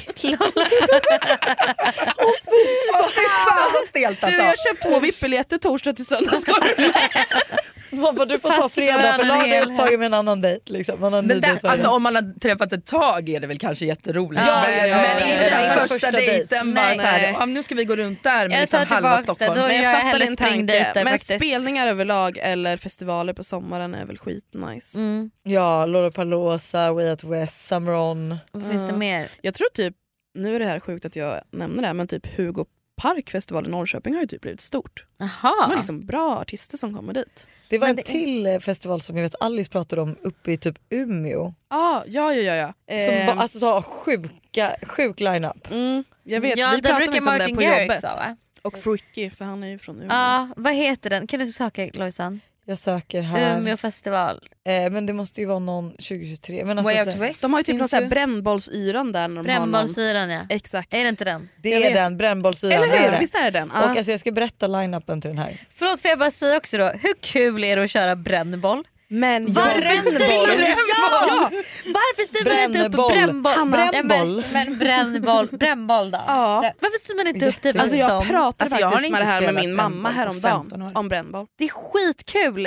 [SPEAKER 4] Fan vad stelt
[SPEAKER 3] Du
[SPEAKER 4] alltså.
[SPEAKER 3] jag har köpt två VIP-biljetter torsdag till söndag. Ska du?
[SPEAKER 2] Man bara, du får ta
[SPEAKER 1] Fast
[SPEAKER 2] fredag för
[SPEAKER 1] varannan
[SPEAKER 2] lördag är
[SPEAKER 1] hel-
[SPEAKER 2] upptagen med en annan dejt. Liksom. Man har en ny
[SPEAKER 4] Men
[SPEAKER 2] dejt
[SPEAKER 4] där,
[SPEAKER 2] varje
[SPEAKER 4] alltså,
[SPEAKER 2] dag.
[SPEAKER 4] om man har träffat ett tag är det väl kanske jätteroligt.
[SPEAKER 1] Ja,
[SPEAKER 4] men
[SPEAKER 1] ja,
[SPEAKER 4] men
[SPEAKER 1] ja,
[SPEAKER 4] inte
[SPEAKER 1] ja,
[SPEAKER 4] den
[SPEAKER 1] ja.
[SPEAKER 4] första
[SPEAKER 2] Första
[SPEAKER 4] dejten bara
[SPEAKER 1] Nej.
[SPEAKER 4] såhär, ja, men nu ska vi gå runt där med
[SPEAKER 1] Jag tar
[SPEAKER 4] liksom halva
[SPEAKER 1] tillbaks det,
[SPEAKER 4] Stockholm.
[SPEAKER 1] då är
[SPEAKER 3] Men
[SPEAKER 1] jag
[SPEAKER 3] jag fattar
[SPEAKER 1] hellre
[SPEAKER 3] din
[SPEAKER 1] springdejter
[SPEAKER 3] tanke. Men
[SPEAKER 1] faktiskt.
[SPEAKER 3] spelningar överlag eller festivaler på sommaren är väl skitnice.
[SPEAKER 1] Mm.
[SPEAKER 2] Ja, Lollapalooza, Way Out West, Summer On.
[SPEAKER 1] Vad finns det
[SPEAKER 3] Ja.
[SPEAKER 1] mer?
[SPEAKER 3] Jag tror typ, nu är det här sjukt att jag nämner det här men typ Hugo Parkfestival i Norrköping har ju typ blivit stort. De har
[SPEAKER 1] Jaha.
[SPEAKER 3] liksom bra artister som kommer dit.
[SPEAKER 2] Det var
[SPEAKER 1] Men
[SPEAKER 2] en
[SPEAKER 1] det är-
[SPEAKER 2] till eh, festival som jag vet Alice pratade om uppe i typ Umeå.
[SPEAKER 3] Ah, ja, ja, ja. ja.
[SPEAKER 2] Som
[SPEAKER 3] Ehm,
[SPEAKER 2] bara, alltså, så har sjuka, sjuk line-up.
[SPEAKER 3] mm, jag vet,
[SPEAKER 1] Ja,
[SPEAKER 3] vi
[SPEAKER 1] liksom där Mm.
[SPEAKER 3] pratade
[SPEAKER 1] brukar
[SPEAKER 3] faktiskt om det
[SPEAKER 1] Martin
[SPEAKER 3] på
[SPEAKER 1] Garrix
[SPEAKER 3] jobbet.
[SPEAKER 1] ha va?
[SPEAKER 3] Och Freaky för han är ju från Umeå.
[SPEAKER 1] Ja, vad heter den? Kan du söka Lojsan?
[SPEAKER 2] Jag söker här.
[SPEAKER 1] Umeå festival.
[SPEAKER 2] Eh, men det måste ju vara någon 2023. Men alltså,
[SPEAKER 6] Way
[SPEAKER 2] så-
[SPEAKER 6] out west.
[SPEAKER 3] De har ju typ
[SPEAKER 2] Finns
[SPEAKER 3] någon sån
[SPEAKER 2] det?
[SPEAKER 3] här brännbollsyran där när de har någon...
[SPEAKER 1] Brännbollsyran ja.
[SPEAKER 3] Exakt.
[SPEAKER 1] Är det inte den?
[SPEAKER 2] Det
[SPEAKER 3] Jag
[SPEAKER 2] är
[SPEAKER 3] vet.
[SPEAKER 2] den, brännbollsyran.
[SPEAKER 3] Eller
[SPEAKER 2] det är
[SPEAKER 3] hur?
[SPEAKER 2] det.
[SPEAKER 3] Visst är det den?
[SPEAKER 2] Och
[SPEAKER 3] Ah.
[SPEAKER 2] alltså, jag ska berätta line-upen till den här.
[SPEAKER 1] Förlåt får jag bara säga också då, hur kul är det att köra brännboll?
[SPEAKER 3] Men
[SPEAKER 1] Varför stänger du, ja! Varför styr man inte upp
[SPEAKER 2] Brännboll.
[SPEAKER 1] brännboll?
[SPEAKER 2] Hanna.
[SPEAKER 1] Ja,
[SPEAKER 2] Brännboll.
[SPEAKER 1] Men, men brännboll, brännboll då?
[SPEAKER 3] Ja.
[SPEAKER 1] Brä- Varför styr man inte upp typ
[SPEAKER 3] Alltså jag
[SPEAKER 1] sån?
[SPEAKER 3] pratade
[SPEAKER 4] Alltså, jag har
[SPEAKER 3] faktiskt med det
[SPEAKER 4] inte
[SPEAKER 3] här med
[SPEAKER 4] spelat
[SPEAKER 3] min
[SPEAKER 4] brännboll
[SPEAKER 3] mamma
[SPEAKER 4] på 15
[SPEAKER 3] häromdagen
[SPEAKER 4] år.
[SPEAKER 3] om brännboll.
[SPEAKER 1] Det är skitkul!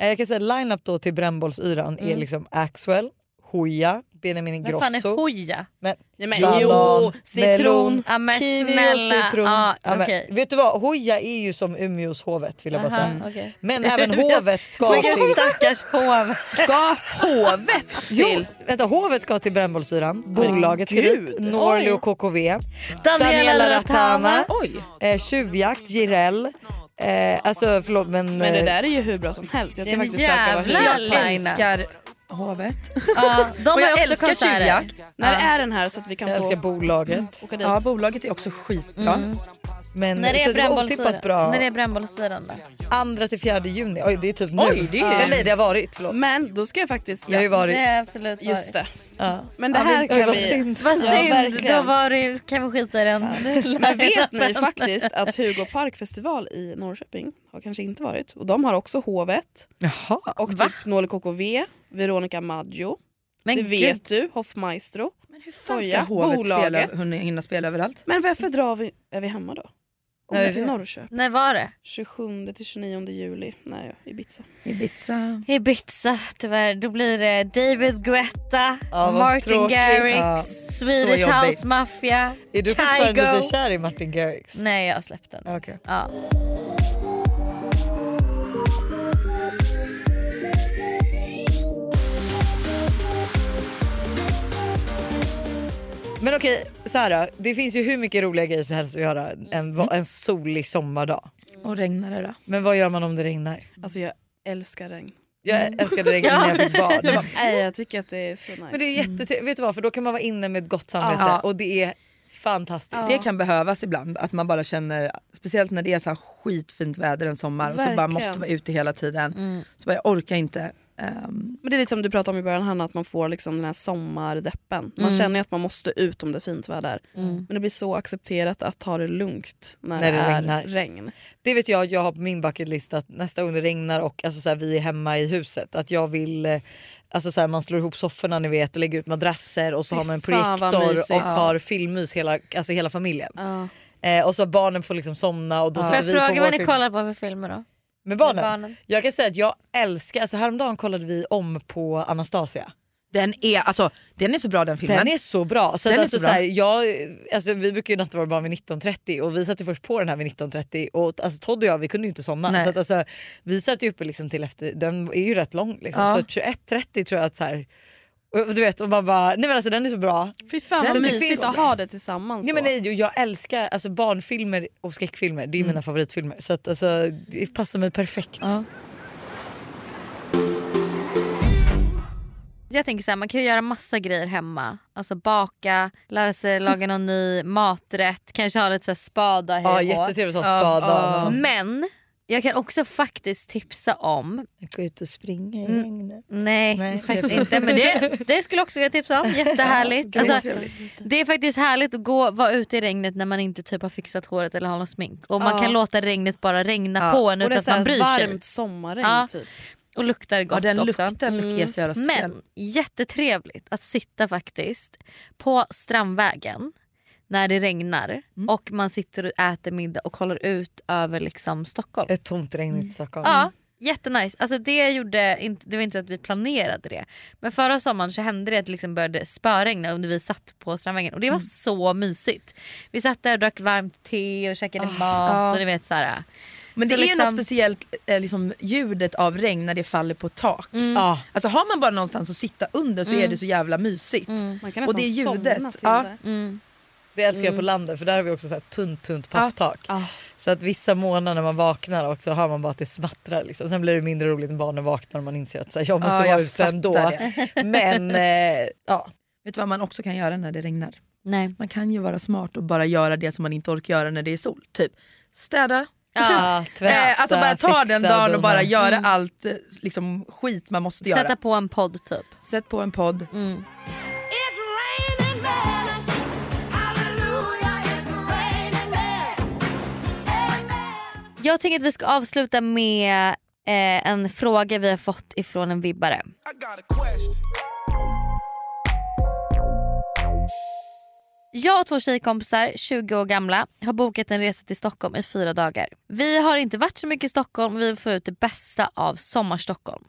[SPEAKER 2] Eh, jag kan säga line-up då till brännbollsyran är liksom Axwell, Hooja, Benjamin
[SPEAKER 1] Vad fan är
[SPEAKER 2] Ingrosso.
[SPEAKER 1] hoja?
[SPEAKER 2] Men,
[SPEAKER 3] Ja, men,
[SPEAKER 2] banan,
[SPEAKER 3] jo, citron.
[SPEAKER 2] melon,
[SPEAKER 1] Ja, men
[SPEAKER 2] kiwi
[SPEAKER 1] snälla.
[SPEAKER 2] och citron.
[SPEAKER 1] Ja,
[SPEAKER 2] men
[SPEAKER 1] okej.
[SPEAKER 2] Vet du vad, Hooja är ju som Umeås hovet vill jag bara säga.
[SPEAKER 1] Aha, okej.
[SPEAKER 2] Men även hovet ska till...
[SPEAKER 1] Vilken stackars påve.
[SPEAKER 3] Ska hovet
[SPEAKER 2] Jo,
[SPEAKER 3] till?
[SPEAKER 2] vänta, hovet ska till brännbollsyran, bolaget ska
[SPEAKER 3] gud.
[SPEAKER 2] dit, Norli och KKV, Daniela
[SPEAKER 1] Daniela
[SPEAKER 2] Ratana,
[SPEAKER 1] Ratana.
[SPEAKER 2] eh, Tjuvjakt, Jireel. Eh, alltså förlåt men...
[SPEAKER 3] Men det
[SPEAKER 2] eh,
[SPEAKER 3] där är ju hur bra som helst. Jag ska
[SPEAKER 1] Den
[SPEAKER 3] faktiskt söka vad
[SPEAKER 1] jävla-
[SPEAKER 3] hur-
[SPEAKER 1] Line-up.
[SPEAKER 4] Jag älskar hovet.
[SPEAKER 1] Ja, de har
[SPEAKER 4] Och
[SPEAKER 1] ju
[SPEAKER 4] jag
[SPEAKER 1] också
[SPEAKER 4] älskar
[SPEAKER 1] konserter.
[SPEAKER 4] tjuvjakt.
[SPEAKER 3] När är den här så att vi kan
[SPEAKER 2] Jag älskar
[SPEAKER 3] få
[SPEAKER 2] bolaget. Mm.
[SPEAKER 3] åka dit?
[SPEAKER 4] Ja, bolaget är också skitbra.
[SPEAKER 2] Men,
[SPEAKER 1] När det
[SPEAKER 2] så
[SPEAKER 1] är
[SPEAKER 2] det var
[SPEAKER 1] brännbollsyran
[SPEAKER 2] otippat bra.
[SPEAKER 1] När det är brännbollsyran då?
[SPEAKER 2] Andra till fjärde juni, oj det är typ nu.
[SPEAKER 4] Oj, det är-
[SPEAKER 2] Eller det har varit, förlåt.
[SPEAKER 3] Men då ska jag faktiskt...
[SPEAKER 2] Jag har ju varit...
[SPEAKER 1] Det är absolut
[SPEAKER 3] Just det.
[SPEAKER 2] Ja.
[SPEAKER 3] Men det här
[SPEAKER 2] Oj,
[SPEAKER 3] kan
[SPEAKER 2] vad
[SPEAKER 3] vi...
[SPEAKER 2] synd.
[SPEAKER 1] Vad
[SPEAKER 3] Ja,
[SPEAKER 1] synd, då
[SPEAKER 3] verkligen.
[SPEAKER 1] var det, kan vi skita i den.
[SPEAKER 3] Men vet ni faktiskt att Hugo Parkfestival i Norrköping har kanske inte varit. Och de har också hovet
[SPEAKER 2] Jaha.
[SPEAKER 3] och typ Nole KKV, Veronica Maggio,
[SPEAKER 1] Men
[SPEAKER 3] det
[SPEAKER 1] gud,
[SPEAKER 3] vet du, Hoffmaestro.
[SPEAKER 4] Men hur fan ska
[SPEAKER 3] Koja,
[SPEAKER 4] hovet spela,
[SPEAKER 3] bolaget.
[SPEAKER 4] hunna- hinna spela överallt?
[SPEAKER 3] Men varför drar vi... Är vi hemma då?
[SPEAKER 2] När är
[SPEAKER 3] Åker till
[SPEAKER 2] det?
[SPEAKER 3] Norrköping.
[SPEAKER 1] när var det?
[SPEAKER 3] 27 till 29 juli. Nej, Ibiza.
[SPEAKER 4] Ibiza.
[SPEAKER 1] Ibiza tyvärr. Då blir det David Guetta,
[SPEAKER 2] Ja, vad
[SPEAKER 1] Martin
[SPEAKER 2] tråkigt.
[SPEAKER 1] Garrix,
[SPEAKER 2] Ja,
[SPEAKER 1] Swedish
[SPEAKER 2] jobbigt.
[SPEAKER 1] House Mafia,
[SPEAKER 2] Är du fortfarande
[SPEAKER 1] Kygo.
[SPEAKER 2] lite kär i Martin Garrix?
[SPEAKER 1] Nej jag har släppt den.
[SPEAKER 2] Mm. Okej.
[SPEAKER 1] Ja.
[SPEAKER 2] Men okej, så här då. Det finns ju hur mycket roliga grejer som helst att göra en, va- en solig sommardag.
[SPEAKER 4] Och regnar det då?
[SPEAKER 2] Men vad gör man om Mm. det regnar?
[SPEAKER 3] Alltså jag älskar regn.
[SPEAKER 2] Jag älskade regn när jag fick barn.
[SPEAKER 3] Nej, jag tycker att det är så nice.
[SPEAKER 2] Men det är jättetrevligt, vet du vad? För då kan man vara inne med ett gott samvete
[SPEAKER 4] Ja.
[SPEAKER 2] och det är fantastiskt.
[SPEAKER 4] Det kan behövas ibland, att man bara känner, speciellt när det är så här skitfint väder en sommar och så bara
[SPEAKER 3] Verkligen.
[SPEAKER 4] måste vara ute hela tiden.
[SPEAKER 1] Mm.
[SPEAKER 4] Så bara, jag orkar inte. Ehm,
[SPEAKER 3] Men det är lite som du pratade om i början Hanna, att man får liksom den här sommardeppen. Man känner ju att man måste ut om det är fint väder. Men det blir så accepterat att ta det lugnt när,
[SPEAKER 2] När det
[SPEAKER 3] det är
[SPEAKER 2] regnar.
[SPEAKER 3] regn.
[SPEAKER 2] Det vet jag, jag har på min bucketlist att nästa gång det regnar och alltså, så här, vi är hemma i huset att jag vill eh, Alltså så här, man slår ihop sofforna ni vet och lägger ut madrasser och så
[SPEAKER 3] Fy
[SPEAKER 2] har man en
[SPEAKER 3] fan, vad
[SPEAKER 2] projektor
[SPEAKER 3] mysigt.
[SPEAKER 2] och
[SPEAKER 3] Ja.
[SPEAKER 2] har filmmys hela, alltså hela familjen.
[SPEAKER 3] Ja.
[SPEAKER 2] Eh, och så barnen får liksom somna och då
[SPEAKER 1] Får
[SPEAKER 2] sätter
[SPEAKER 1] jag
[SPEAKER 2] vi på
[SPEAKER 1] fråga
[SPEAKER 2] vår
[SPEAKER 1] vad ni
[SPEAKER 2] film.
[SPEAKER 1] kollar på för filmer då?
[SPEAKER 2] Med barnen?
[SPEAKER 1] Med barnen.
[SPEAKER 2] Jag kan säga att jag älskar, alltså häromdagen kollade vi om på Anastasia.
[SPEAKER 4] Den är, alltså, den är så bra den filmen.
[SPEAKER 2] Den är så bra. Så att
[SPEAKER 4] Den är
[SPEAKER 2] alltså,
[SPEAKER 4] så
[SPEAKER 2] så
[SPEAKER 4] bra.
[SPEAKER 2] här, jag, alltså, vi brukar ju natta våra barn vid 19.30 och vi satte först på den här vid 19.30 och alltså, Todd och jag vi kunde ju inte somna.
[SPEAKER 4] Nej.
[SPEAKER 2] Så att, alltså, vi satt ju uppe liksom till efter, den är ju rätt lång liksom,
[SPEAKER 4] Ja.
[SPEAKER 2] så att 21.30 tror jag att så här, Och, du vet, och man bara, nej men alltså den är så bra.
[SPEAKER 3] Fy fan
[SPEAKER 2] Nej,
[SPEAKER 3] vad
[SPEAKER 2] men det
[SPEAKER 3] mysigt
[SPEAKER 2] finns-
[SPEAKER 3] att ha det tillsammans.
[SPEAKER 2] Nej,
[SPEAKER 3] så.
[SPEAKER 2] men nej, jag älskar alltså, barnfilmer och skräckfilmer, det är mina favoritfilmer. Så att, alltså, det passar mig perfekt.
[SPEAKER 1] Jag tänker så här, man kan ju göra massa grejer hemma. Alltså baka, lära sig laga någon ny maträtt, kanske ha lite så här spada
[SPEAKER 2] Ja,
[SPEAKER 1] hej och hå.
[SPEAKER 2] jättetrevligt att ha spadan. och-
[SPEAKER 1] Men jag kan också faktiskt tipsa om,
[SPEAKER 2] Gå ut och springa i
[SPEAKER 1] Mm.
[SPEAKER 2] regnet.
[SPEAKER 1] nej, faktiskt inte men det, det skulle jag också vilja tipsa om, jättehärligt. Alltså, det är faktiskt härligt att gå, vara ute i regnet när man inte typ har fixat håret eller har någon smink. Och man
[SPEAKER 3] Ja.
[SPEAKER 1] kan låta regnet bara regna på en
[SPEAKER 3] Och det är
[SPEAKER 1] utan att man
[SPEAKER 3] såhär
[SPEAKER 1] bryr sig.
[SPEAKER 3] varmt sommarregn
[SPEAKER 1] Ja.
[SPEAKER 3] typ.
[SPEAKER 1] Och luktar gott
[SPEAKER 4] Ja, den
[SPEAKER 1] också. Mm.
[SPEAKER 4] lukten är så jävla speciell.
[SPEAKER 1] Men jättetrevligt att sitta faktiskt på Strandvägen när det regnar
[SPEAKER 4] Mm.
[SPEAKER 1] och man sitter och äter middag och kollar ut över liksom Stockholm.
[SPEAKER 2] Ett tomt regn i Stockholm.
[SPEAKER 1] Ja, jättenice. Alltså det, gjorde inte, det var inte så att vi planerade det. Men förra sommaren så hände det att det liksom började spöregna under vi satt på Strandvägen och det var så mysigt. Vi satt där och drack varmt te och käkade mat och du vet såhär.
[SPEAKER 4] Men
[SPEAKER 1] Så äh.
[SPEAKER 4] det är ju
[SPEAKER 1] liksom-
[SPEAKER 4] något speciellt eh, liksom, ljudet av regn när det faller på tak.
[SPEAKER 2] Ja.
[SPEAKER 4] Alltså har man bara någonstans att sitta under så är det så jävla mysigt.
[SPEAKER 3] Man kan
[SPEAKER 4] Och
[SPEAKER 3] nästan
[SPEAKER 4] det är ljudet.
[SPEAKER 3] somna till
[SPEAKER 4] Ja.
[SPEAKER 3] det.
[SPEAKER 2] Det älskar
[SPEAKER 4] Mm.
[SPEAKER 2] jag på landet för där har vi också så här tunt tunt papptak.
[SPEAKER 3] Ja.
[SPEAKER 2] Så att vissa månader när man vaknar också hör man bara att det smattrar. Liksom. Sen blir det mindre roligt när barnen vaknar och man inser att så här, jag måste
[SPEAKER 4] Ja,
[SPEAKER 2] vara
[SPEAKER 4] jag
[SPEAKER 2] ute ändå.
[SPEAKER 4] fattar
[SPEAKER 2] Men eh, ja.
[SPEAKER 4] Vet du vad man också kan göra när det regnar?
[SPEAKER 1] Nej.
[SPEAKER 4] Man kan ju vara smart och bara göra det som man inte orkar göra när det är sol. Typ städa.
[SPEAKER 1] Ja.
[SPEAKER 2] Tvätta,
[SPEAKER 4] eh, alltså bara ta
[SPEAKER 2] fixa,
[SPEAKER 4] den dagen och bara
[SPEAKER 2] dona.
[SPEAKER 4] göra allt eh, liksom, skit man måste göra.
[SPEAKER 1] Sätta på en podd typ.
[SPEAKER 4] Sätt på en podd.
[SPEAKER 1] Jag tänker att vi ska avsluta med eh, en fråga vi har fått ifrån en vibbare. Jag och två tjejkompisar, 20 år gamla, har bokat en resa till Stockholm i fyra dagar. Vi har inte varit så mycket i Stockholm och vi vill få ut det bästa av Sommarstockholm.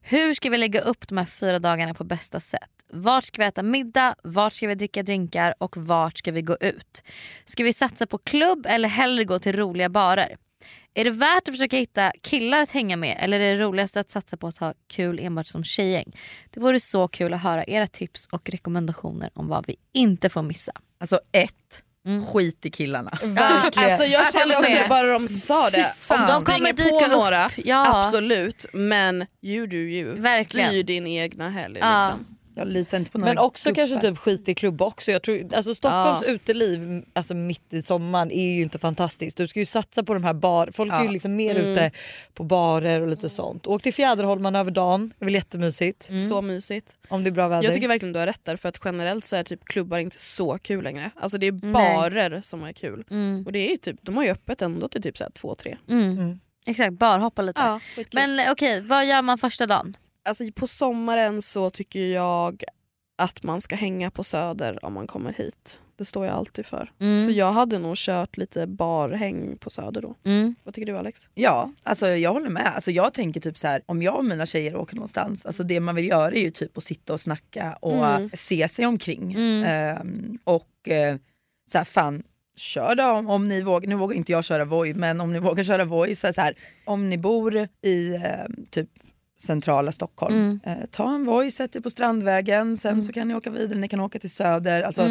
[SPEAKER 1] Hur ska vi lägga upp de här fyra dagarna på bästa sätt? Vart ska vi äta middag? Vart ska vi dricka drinkar? Och vart ska vi gå ut? Ska vi satsa på klubb eller hellre gå till roliga barer? Är det värt att försöka hitta killar att hänga med eller är det roligast att satsa på att ha kul enbart som tjejgäng? Det vore så kul att höra era tips och rekommendationer om vad vi inte får missa.
[SPEAKER 4] Alltså ett, skit i killarna.
[SPEAKER 2] Verkligen.
[SPEAKER 3] Alltså jag känner också det bara de sa det.
[SPEAKER 4] Fy
[SPEAKER 3] Om
[SPEAKER 4] fan.
[SPEAKER 3] de
[SPEAKER 1] De kommer
[SPEAKER 3] kommer
[SPEAKER 1] dyka
[SPEAKER 3] på
[SPEAKER 1] upp,
[SPEAKER 3] några,
[SPEAKER 1] ja.
[SPEAKER 3] absolut. Men you do you.
[SPEAKER 1] Verkligen.
[SPEAKER 3] Styr din egna helg.
[SPEAKER 1] Ja.
[SPEAKER 3] Liksom.
[SPEAKER 4] Jag litar inte på några
[SPEAKER 2] Men också
[SPEAKER 4] gubbar.
[SPEAKER 2] kanske typ skit i klubb också. Jag tror, alltså Stockholms uteliv alltså mitt i sommaren är ju inte fantastiskt. Du ska ju satsa på de här bar... Folk är ju liksom mer
[SPEAKER 4] Mm.
[SPEAKER 2] ute på barer och lite sånt. Åk till Fjäderholmarna över dagen, det är väl jättemysigt.
[SPEAKER 4] Mm.
[SPEAKER 3] Så mysigt.
[SPEAKER 2] Om det är bra väder.
[SPEAKER 3] Jag tycker verkligen du har rätt där för att generellt så är typ klubbar inte så kul längre. Alltså det är barer som är kul. Och det är ju typ, de har ju öppet ändå till typ 2-3.
[SPEAKER 1] Mm. Exakt, barhoppa lite.
[SPEAKER 3] Ja, men
[SPEAKER 1] Men eh, okej, vad gör man första dagen?
[SPEAKER 3] alltså, på sommaren så tycker jag att man ska hänga på Söder om man kommer hit. Det står jag alltid för. Så jag hade nog kört lite barhäng på Söder då.
[SPEAKER 1] Mm.
[SPEAKER 3] Vad tycker du Alex?
[SPEAKER 4] Ja, alltså jag håller med. Alltså jag tänker typ så här, om jag och mina tjejer åker någonstans, alltså det man vill göra är ju typ att sitta och snacka och
[SPEAKER 3] Mm.
[SPEAKER 4] eh, se sig omkring.
[SPEAKER 1] Mm.
[SPEAKER 4] Ehm, och eh, så här, fan, kör då om, om ni vågar. Nu vågar inte jag köra Voi, men om ni vågar köra Voi, så här, så här, om ni bor i eh, typ centrala Stockholm, eh, ta en Voi, sätt er på Strandvägen, sen så kan ni åka vidare, ni kan åka till Söder. Alltså,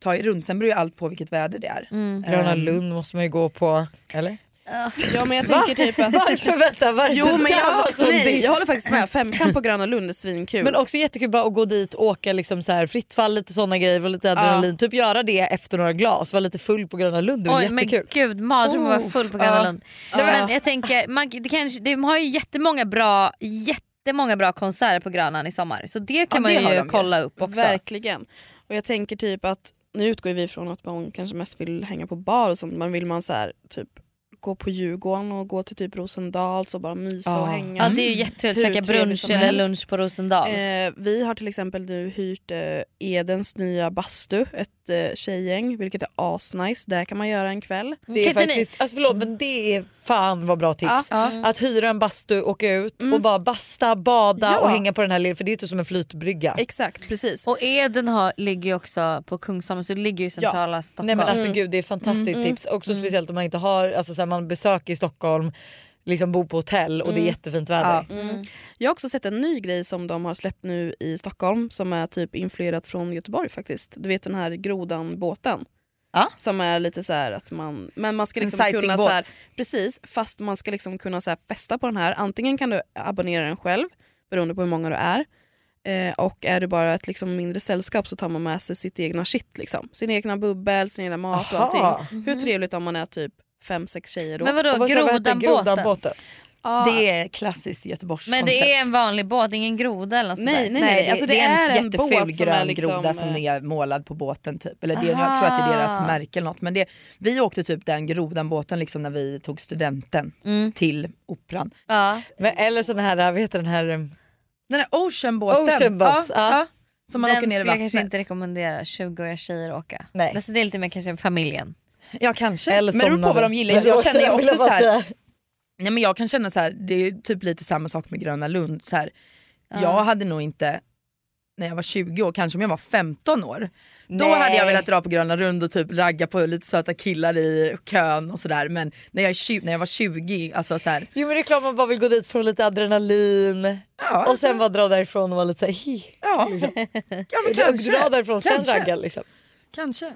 [SPEAKER 4] Ta er runt, sen beror ju allt på vilket väder det är.
[SPEAKER 2] Gröna Lund måste man ju gå på. Ehm. Eller?
[SPEAKER 3] Ja men jag tänker typ att...
[SPEAKER 2] Varför vänta? Varför
[SPEAKER 3] Jo men jag, nej,
[SPEAKER 2] diss?
[SPEAKER 3] jag håller faktiskt med, femkamp på Gröna Lund är svinkul.
[SPEAKER 2] Men också jättekul bara att gå dit och åka liksom så här, fritt fall, lite såna grejer och lite adrenalin. Typ göra det efter några glas, vara lite full på Gröna Lund. Det var
[SPEAKER 1] Oj
[SPEAKER 2] jättekul.
[SPEAKER 1] men gud, mardröm att vara full på Gröna
[SPEAKER 2] ja.
[SPEAKER 1] Lund. Men jag tänker, man, det kanske, de har ju jättemånga bra, jättemånga bra konserter på Grönan i sommar. Så det kan
[SPEAKER 4] Ja, det
[SPEAKER 1] man
[SPEAKER 4] har
[SPEAKER 1] ju
[SPEAKER 4] de ju.
[SPEAKER 1] kolla upp också.
[SPEAKER 3] Verkligen. Och jag tänker typ att nu utgår vi ifrån att man kanske mest vill hänga på bar och sånt men vill man så här, typ gå på Djurgården och gå till typ Rosendals och bara mysa och hänga.
[SPEAKER 1] Ja det är ju jättetrevligt att
[SPEAKER 3] Hur
[SPEAKER 1] käka
[SPEAKER 3] trevligt
[SPEAKER 1] brunch
[SPEAKER 3] som
[SPEAKER 1] eller
[SPEAKER 3] helst.
[SPEAKER 1] lunch på Rosendals. Mm.
[SPEAKER 3] Eh, vi har till exempel nu hyrt eh, Edens nya bastu, ett eh, tjejgäng, vilket är asnice. Där kan man göra en kväll.
[SPEAKER 2] Det är
[SPEAKER 1] Kan inte
[SPEAKER 2] faktiskt, alltså förlåt men det är fan vad bra tips.
[SPEAKER 1] Ja.
[SPEAKER 2] Att hyra en bastu, åka ut och bara basta, bada
[SPEAKER 3] Ja.
[SPEAKER 2] och hänga på den här leden för det är typ som en flytbrygga.
[SPEAKER 3] Exakt, precis.
[SPEAKER 1] Och Eden har, ligger ju också på Kungsholmen så det ligger ju i centrala Stockholm.
[SPEAKER 2] Mm. alltså, Nej men alltså gud det är fantastiskt tips. Också speciellt om man inte har, alltså så här, man besöker i Stockholm liksom bo på hotell och det är jättefint väder.
[SPEAKER 4] Ja.
[SPEAKER 3] Jag har också sett en ny grej som de har släppt nu i Stockholm som är typ influerat från Göteborg faktiskt. Du vet den här grodan-båten.
[SPEAKER 4] Ja.
[SPEAKER 3] Som är lite så här att man, men man ska
[SPEAKER 4] En
[SPEAKER 3] liksom kunna så här,
[SPEAKER 4] sightseeingbåt.
[SPEAKER 3] Precis, fast man ska liksom kunna så här festa på den här. Antingen kan du abonnera den själv beroende på hur många du är. Eh, och är du bara ett liksom mindre sällskap så tar man med sig sitt egna shit. Liksom. Sin egna bubbel, sin egna mat och
[SPEAKER 2] Aha.
[SPEAKER 3] allting.
[SPEAKER 4] Mhm.
[SPEAKER 3] Hur trevligt om man är typ fem, sex tjejer då.
[SPEAKER 1] Men vadå,
[SPEAKER 2] Och vad sa- vad hette
[SPEAKER 1] grodanbåten?
[SPEAKER 3] Ja.
[SPEAKER 4] Det är klassiskt Göteborgs
[SPEAKER 1] Men det är en vanlig båt, ingen groda eller något sånt
[SPEAKER 3] Nej,
[SPEAKER 1] där.
[SPEAKER 3] nej, nej.
[SPEAKER 4] det,
[SPEAKER 3] alltså,
[SPEAKER 4] det är en jätteful
[SPEAKER 3] båt som
[SPEAKER 4] grön
[SPEAKER 3] är liksom,
[SPEAKER 4] groda som
[SPEAKER 3] eh,
[SPEAKER 4] är målad på båten typ. Eller det, jag tror att det är deras
[SPEAKER 1] Aha.
[SPEAKER 4] märke eller något. Men det, vi åkte typ den grodan båten liksom när vi tog studenten till operan.
[SPEAKER 1] Ja.
[SPEAKER 2] Men, eller sån här, vad heter den här, um,
[SPEAKER 4] Den här oceanbåten.
[SPEAKER 2] Ocean Boss, ja.
[SPEAKER 4] Som man
[SPEAKER 1] den
[SPEAKER 4] åker ner i
[SPEAKER 1] skulle jag kanske
[SPEAKER 4] vattnet.
[SPEAKER 1] inte rekommendera 20-åriga tjejer att åka.
[SPEAKER 2] Nej.
[SPEAKER 1] Alltså, det är lite mer kanske familjen.
[SPEAKER 4] Ja kanske.
[SPEAKER 2] eller
[SPEAKER 4] men det beror på vad de gillar. Jag känner ju också så här, nej, men jag kan känna så här, det är typ lite samma sak med Gröna Lund. Så här, Jag hade nog inte när jag var 20 år, kanske om jag var 15 år. Då
[SPEAKER 2] Nej.
[SPEAKER 4] hade jag velat dra på Gröna Lund och typ ragga på lite söta killar i kön och sådär. Men när jag, är 20 när jag var 20, alltså så här,
[SPEAKER 2] Jo men det är klart man bara vill gå dit för lite adrenalin
[SPEAKER 4] ja,
[SPEAKER 2] och sen bara dra därifrån och vara lite hi.
[SPEAKER 4] ja, ja men
[SPEAKER 2] Och
[SPEAKER 4] kanske.
[SPEAKER 2] dra därifrån sen
[SPEAKER 4] Kanske.
[SPEAKER 2] ragga liksom.
[SPEAKER 4] kanske.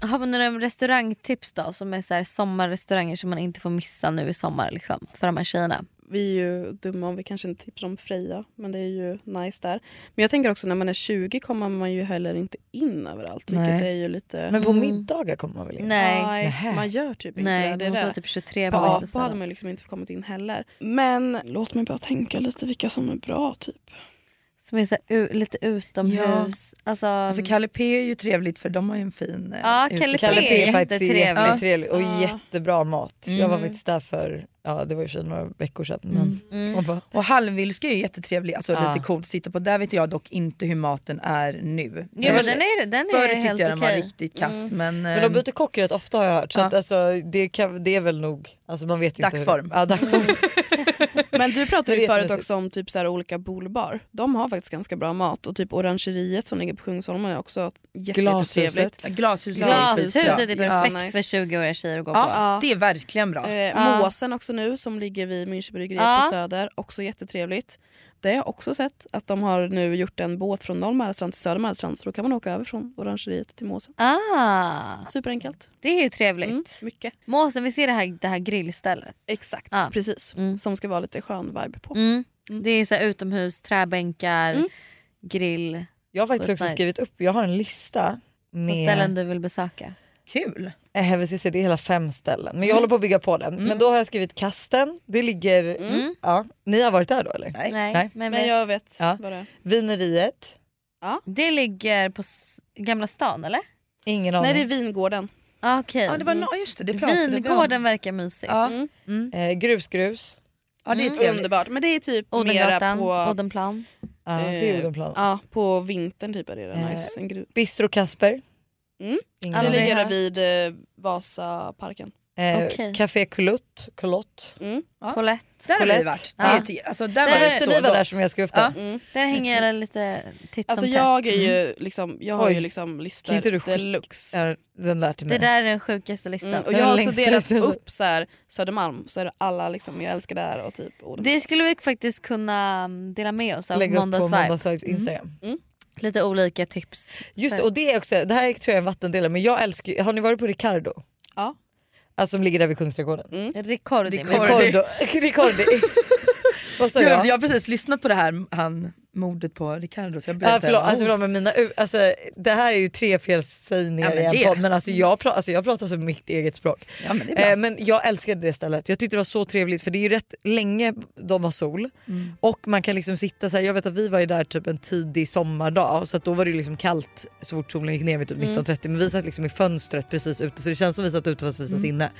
[SPEAKER 1] Har vi några restaurangtips då som är så här sommarrestauranger som man inte får missa nu i sommar liksom, för de här tjejerna?
[SPEAKER 3] Vi är ju dumma om vi kanske inte tipsar om Freja, men det är ju nice där. Men jag tänker också när man är 20 kommer man ju heller inte in överallt, vilket
[SPEAKER 2] Nej.
[SPEAKER 3] är ju lite...
[SPEAKER 2] Men på
[SPEAKER 4] Mm.
[SPEAKER 2] middagar kommer man väl in?
[SPEAKER 1] Nej, nej,
[SPEAKER 3] Nej, man gör typ inte det. det.
[SPEAKER 1] man
[SPEAKER 3] är
[SPEAKER 1] måste
[SPEAKER 3] det.
[SPEAKER 1] vara typ 23 på
[SPEAKER 3] Ja,
[SPEAKER 1] vissa
[SPEAKER 3] då hade
[SPEAKER 1] ställen.
[SPEAKER 3] man ju liksom inte kommit in heller. Men låt mig bara tänka lite vilka som är bra typ.
[SPEAKER 1] Som är så här, u- lite utomhus. Alltså,
[SPEAKER 4] Alltså Kalle P är ju trevligt för de har ju en fin eh,
[SPEAKER 1] Ja,
[SPEAKER 4] ute-
[SPEAKER 1] Kalle P.
[SPEAKER 2] Kalle P
[SPEAKER 1] är
[SPEAKER 2] är faktiskt
[SPEAKER 1] jättetrevligt.
[SPEAKER 2] jättetrevligt och
[SPEAKER 3] Ja.
[SPEAKER 2] jättebra mat. Jag var
[SPEAKER 4] Mm.
[SPEAKER 2] faktiskt där för, ja det var i och för sig några veckor sedan men
[SPEAKER 1] Mm.
[SPEAKER 2] och bara,
[SPEAKER 4] Och halvvilska är ju jättetrevlig, alltså
[SPEAKER 2] Ja.
[SPEAKER 4] lite coolt att sitta på. Där vet jag dock inte hur maten är nu.
[SPEAKER 1] jo, men den är, den
[SPEAKER 4] Förr
[SPEAKER 1] är
[SPEAKER 4] tyckte jag
[SPEAKER 1] helt
[SPEAKER 4] den var
[SPEAKER 1] okej.
[SPEAKER 4] riktigt kass men,
[SPEAKER 2] Men de
[SPEAKER 4] ehm,
[SPEAKER 2] byter kock rätt ofta har jag hört så
[SPEAKER 4] Ja.
[SPEAKER 2] att, alltså, det, kan, det är väl nog, alltså, man vet ju
[SPEAKER 4] Dagsform.
[SPEAKER 2] inte. hur- Ja, dagsform.
[SPEAKER 3] Men du pratade
[SPEAKER 2] Det
[SPEAKER 3] ju
[SPEAKER 2] är
[SPEAKER 3] förut
[SPEAKER 2] jättemysigt.
[SPEAKER 3] också om typ så här olika bolbar. De har faktiskt ganska bra mat och typ orangeriet som ligger på Kungsholmen är också jätte- jättetrevligt.
[SPEAKER 2] Glashuset.
[SPEAKER 4] Glashuset.
[SPEAKER 1] Glashuset
[SPEAKER 3] Glashuset,
[SPEAKER 1] är typ
[SPEAKER 3] ja.
[SPEAKER 1] perfekt
[SPEAKER 3] Ja, nice.
[SPEAKER 1] för 20-åriga tjejer att gå på.
[SPEAKER 4] Ja, det är verkligen bra.
[SPEAKER 3] Eh,
[SPEAKER 1] Ja.
[SPEAKER 3] Måsen också nu som ligger vid Münchenbryggeriet
[SPEAKER 1] Ja.
[SPEAKER 3] på Söder, också jättetrevligt. Det har jag också sett, att de har nu gjort en båt från Norr Mälarstrand till Söder Mälarstrand så då kan man åka över från Orangeriet till Måsen.
[SPEAKER 1] Ah,
[SPEAKER 3] Superenkelt.
[SPEAKER 1] det är ju trevligt.
[SPEAKER 3] Mm, mycket.
[SPEAKER 1] Måsen, vi ser det här, det här grillstället.
[SPEAKER 3] Exakt,
[SPEAKER 1] Ja.
[SPEAKER 3] precis.
[SPEAKER 1] Mm.
[SPEAKER 3] Som ska vara lite skön vibe på.
[SPEAKER 1] Mm. Det är så här utomhus, träbänkar,
[SPEAKER 3] Mm.
[SPEAKER 1] grill
[SPEAKER 2] Jag har faktiskt
[SPEAKER 1] What
[SPEAKER 2] också
[SPEAKER 1] nice.
[SPEAKER 2] skrivit upp, jag har en lista
[SPEAKER 1] på
[SPEAKER 2] med,
[SPEAKER 1] ställen du vill besöka.
[SPEAKER 4] Kul.
[SPEAKER 2] eh, vi ska se, det är hela fem ställen men jag håller på att bygga på den. Men då har jag skrivit Kasten, det ligger,
[SPEAKER 1] Mm.
[SPEAKER 2] ja, ni har varit där då eller?
[SPEAKER 1] Nej,
[SPEAKER 2] Nej.
[SPEAKER 1] Men,
[SPEAKER 3] Men jag vet
[SPEAKER 2] Ja.
[SPEAKER 3] vad det är.
[SPEAKER 2] Vineriet,
[SPEAKER 1] Det ligger på s- Gamla stan eller?
[SPEAKER 2] ingen aning.
[SPEAKER 3] Nej det är Vingården.
[SPEAKER 1] Ah, Okej.
[SPEAKER 4] Ja, det var, no- just det, det pratade vi om.
[SPEAKER 1] Vingården verkar mysig.
[SPEAKER 4] Ja.
[SPEAKER 3] Mm.
[SPEAKER 1] Mm.
[SPEAKER 2] Eh, grusgrus,
[SPEAKER 4] Ja, det är
[SPEAKER 1] Mm.
[SPEAKER 4] trevligt.
[SPEAKER 3] Underbart. Men det är typ mera
[SPEAKER 1] Odengatan,
[SPEAKER 3] på,
[SPEAKER 1] Odenplan.
[SPEAKER 2] ja, det är
[SPEAKER 3] Eh,
[SPEAKER 2] Odenplan.
[SPEAKER 3] ja, på vintern typ är det
[SPEAKER 2] Eh,
[SPEAKER 3] där nice. En gru-
[SPEAKER 2] Bistro Kasper.
[SPEAKER 3] Mm.
[SPEAKER 2] Ingen
[SPEAKER 3] det
[SPEAKER 1] aldrig
[SPEAKER 2] aning.
[SPEAKER 3] ligger
[SPEAKER 1] hört.
[SPEAKER 3] vid eh, Vasaparken.
[SPEAKER 2] Eh,
[SPEAKER 1] Okej.
[SPEAKER 2] Café Colott. Colott.
[SPEAKER 3] Mm.
[SPEAKER 4] Ja.
[SPEAKER 1] Colette.
[SPEAKER 4] Där har vi
[SPEAKER 2] Colette.
[SPEAKER 4] varit. Det
[SPEAKER 1] Ja.
[SPEAKER 4] är te- alltså, där
[SPEAKER 1] Där
[SPEAKER 4] var
[SPEAKER 1] är
[SPEAKER 4] det
[SPEAKER 2] Efter
[SPEAKER 4] så
[SPEAKER 2] ni var
[SPEAKER 4] gott.
[SPEAKER 2] där som jag skrev upp den.
[SPEAKER 4] Ja.
[SPEAKER 3] Mm.
[SPEAKER 1] Där hänger jag lite titt
[SPEAKER 3] Alltså
[SPEAKER 1] som
[SPEAKER 3] jag
[SPEAKER 1] tätt. Mm.
[SPEAKER 3] är ju liksom, jag har
[SPEAKER 2] Mm. Oj.
[SPEAKER 3] ju liksom listor
[SPEAKER 2] Kan inte du skicka-
[SPEAKER 3] deluxe.
[SPEAKER 2] Är den där till
[SPEAKER 1] Det
[SPEAKER 2] mig.
[SPEAKER 1] där är den sjukaste listan.
[SPEAKER 3] Mm, och
[SPEAKER 2] Den
[SPEAKER 3] jag har också
[SPEAKER 2] längsta
[SPEAKER 3] delat
[SPEAKER 2] listan.
[SPEAKER 3] upp så här, Södermalm, så är det alla liksom, jag älskar det här och typ orden.
[SPEAKER 1] Det skulle vi faktiskt kunna mm, dela med oss av.
[SPEAKER 2] Lägg upp på
[SPEAKER 1] Måndagsvibe.
[SPEAKER 2] Måndagsvibes Instagram.
[SPEAKER 1] Lite olika tips.
[SPEAKER 2] Just det, och det är också, det här tror jag är en vattendelare men jag älskar ju- har ni varit på Ricardo?
[SPEAKER 3] Ja.
[SPEAKER 2] Alltså som ligger där vid Kungsträdgården.
[SPEAKER 1] Ricordi.
[SPEAKER 4] Ricordi.
[SPEAKER 2] Ricardo. Ricardi. Vad sa
[SPEAKER 4] Gud,
[SPEAKER 2] jag?
[SPEAKER 4] jag har precis lyssnat på det här han, mordet på Ricardo. Så jag blir
[SPEAKER 2] Ja,
[SPEAKER 4] så här,
[SPEAKER 2] förlåt, alltså,
[SPEAKER 4] oh.
[SPEAKER 2] förlåt, men mina, u- alltså, det här är ju tre felsägningar
[SPEAKER 4] Ja, men
[SPEAKER 2] i
[SPEAKER 4] det-
[SPEAKER 2] en podd men alltså, jag, pra, alltså, jag pratar som mitt eget språk.
[SPEAKER 4] ja, men det är bra.
[SPEAKER 2] Eh, men jag älskade det stället. Jag tyckte det var så trevligt för det är ju rätt länge de har sol och man kan liksom sitta så här. Jag vet att vi var ju där typ en tidig sommardag så att då var det ju liksom kallt så fort solen gick ner vid typ 19.30 men vi satt liksom i fönstret precis ute så det känns som vi satt ute fast vi satt inne.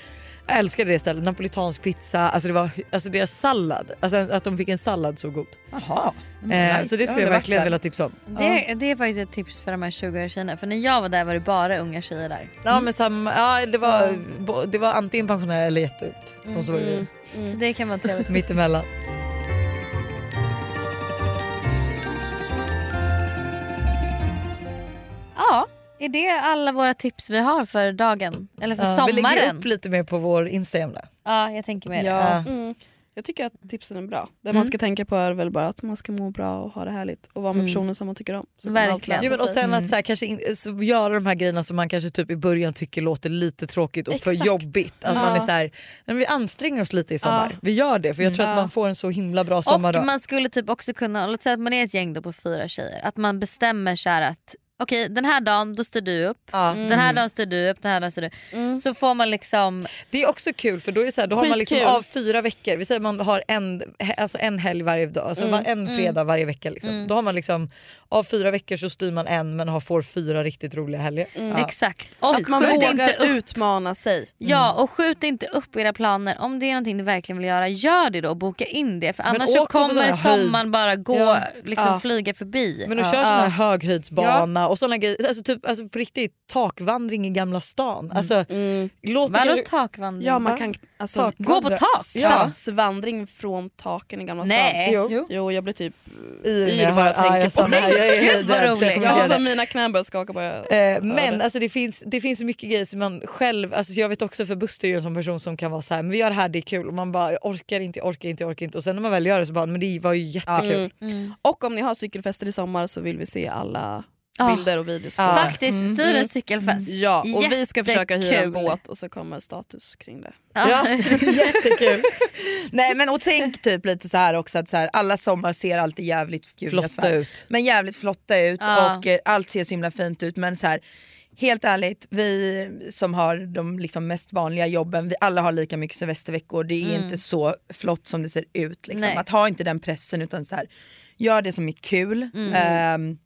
[SPEAKER 2] Jag älskade det stället. Napolitansk pizza, alltså, det var, alltså deras sallad, alltså att de fick en sallad så god.
[SPEAKER 4] Jaha.
[SPEAKER 2] Eh,
[SPEAKER 4] nice.
[SPEAKER 2] så det skulle
[SPEAKER 4] Jag har
[SPEAKER 2] jag
[SPEAKER 4] varit
[SPEAKER 2] verkligen
[SPEAKER 4] där.
[SPEAKER 2] vilja tipsa om.
[SPEAKER 1] Det, det är faktiskt ett tips för de här 20-åriga tjejerna. För när jag var där var det bara unga tjejer där.
[SPEAKER 2] Ja men samma, ja, det, var, bo- det var antingen pensionärer eller jätteungt. Och så var det
[SPEAKER 1] Så det kan vara trevligt.
[SPEAKER 2] mittemellan.
[SPEAKER 1] Ja, Är det alla våra tips vi har för dagen? Eller för
[SPEAKER 2] Ja, vi lägger
[SPEAKER 1] sommaren? Alltså,
[SPEAKER 2] upp lite mer på vår Instagram där.
[SPEAKER 1] Ja, jag tänker mig det.
[SPEAKER 2] Ja. Mm.
[SPEAKER 3] Mm. Jag tycker att tipsen är bra. Det man ska tänka på är väl bara att man ska må bra och ha det härligt och
[SPEAKER 2] Mm.
[SPEAKER 3] vara med personer som man tycker om. Så kommer allt
[SPEAKER 1] Verkligen.
[SPEAKER 3] lösa
[SPEAKER 2] Jo, men och
[SPEAKER 3] sig.
[SPEAKER 2] sen
[SPEAKER 1] Mm.
[SPEAKER 2] att så här, kanske in, så göra de här grejerna som man kanske typ i början tycker låter lite tråkigt och för
[SPEAKER 3] Exakt.
[SPEAKER 2] jobbigt. Att man är så här, "Nej, men vi anstränger oss lite i sommar. Vi gör det för jag tror att man får en så himla bra sommar då.
[SPEAKER 1] Mm, Och man skulle typ också kunna, låt säga att man är ett gäng då på fyra tjejer, att man bestämmer så här att okej den här dagen då styr du upp, den
[SPEAKER 2] Mm.
[SPEAKER 1] här dagen styr du upp, den här dagen styr du Så får man liksom,
[SPEAKER 2] Det är också kul för då, är det så här, då har man liksom
[SPEAKER 3] Skitkul.
[SPEAKER 2] av fyra veckor, vi säger man har en, he- alltså en helg varje dag, alltså
[SPEAKER 1] Mm,
[SPEAKER 2] var- en fredag varje vecka. Liksom. Då har man liksom, av fyra veckor så styr man en men har, får fyra riktigt roliga helger.
[SPEAKER 1] Mm,
[SPEAKER 2] Ja.
[SPEAKER 1] exakt. Och
[SPEAKER 3] Att man
[SPEAKER 1] skjut
[SPEAKER 3] vågar
[SPEAKER 1] upp,
[SPEAKER 3] utmana sig.
[SPEAKER 2] Mm.
[SPEAKER 1] Ja och skjut inte upp era planer. Om det är någonting du verkligen vill göra, gör det då. Boka in det för annars så
[SPEAKER 2] åk på sån
[SPEAKER 1] kommer
[SPEAKER 2] här höjd.
[SPEAKER 1] sommaren bara gå,
[SPEAKER 2] Ja.
[SPEAKER 1] liksom
[SPEAKER 3] Ja.
[SPEAKER 1] flyga förbi.
[SPEAKER 2] Men de kör sån här höghöjdsbana och såna grejer. Alltså, typ, alltså på riktigt takvandring i Gamla stan. Alltså, låt det
[SPEAKER 1] Vadå
[SPEAKER 2] kanske-
[SPEAKER 1] takvandring?
[SPEAKER 3] Ja, man kan alltså,
[SPEAKER 2] Tak.
[SPEAKER 1] Gå på tak!
[SPEAKER 3] Stadsvandring från taken i Gamla
[SPEAKER 1] Nej.
[SPEAKER 2] Jo.
[SPEAKER 3] stan. Jo, jag blir typ...
[SPEAKER 2] yr
[SPEAKER 3] Yr bara tänker
[SPEAKER 2] jag
[SPEAKER 3] på
[SPEAKER 2] samma
[SPEAKER 3] det.
[SPEAKER 2] här. Jag är
[SPEAKER 1] Gud,
[SPEAKER 2] höjdrädd,
[SPEAKER 1] vad
[SPEAKER 2] så jag
[SPEAKER 1] roligt.
[SPEAKER 2] kommer
[SPEAKER 3] Ja,
[SPEAKER 2] göra
[SPEAKER 3] alltså,
[SPEAKER 2] det.
[SPEAKER 3] mina knän börjar skaka bara jag
[SPEAKER 2] Eh,
[SPEAKER 3] hör
[SPEAKER 2] Men
[SPEAKER 3] det.
[SPEAKER 2] alltså, det, finns, det finns så mycket grejer som man själv, alltså, jag vet också för Buster är ju en sån person som kan vara så här, men vi gör det här, det är kul och man bara jag orkar inte, jag orkar inte, jag orkar inte och sen när man väl gör det så bara, men det var ju jättekul.
[SPEAKER 3] Mm. Och om ni har cykelfester i sommar så vill vi se alla
[SPEAKER 1] Ah.
[SPEAKER 3] bilder och videos.
[SPEAKER 2] Ja.
[SPEAKER 1] Faktiskt, styr en cykelfest.
[SPEAKER 3] Ja, och vi ska försöka hyra en
[SPEAKER 1] Jättekul.
[SPEAKER 3] båt och så kommer status kring det.
[SPEAKER 1] Ja.
[SPEAKER 2] Ja, jättekul.
[SPEAKER 4] Nej men och tänk typ lite så här också att så här, alla sommar ser alltid jävligt gud, jag
[SPEAKER 2] Flotta
[SPEAKER 4] svär.
[SPEAKER 2] ut.
[SPEAKER 4] Men jävligt flotta ut
[SPEAKER 1] Ja.
[SPEAKER 4] och eh, allt ser så himla fint ut men så här Helt ärligt, vi som har de liksom mest vanliga jobben, vi alla har lika mycket semesterveckor. Det är inte så flott som det ser ut. Liksom.
[SPEAKER 1] Mm. Nej.
[SPEAKER 4] Att ha inte den pressen utan så här, gör det som är kul.
[SPEAKER 1] Mm.
[SPEAKER 4] Ehm,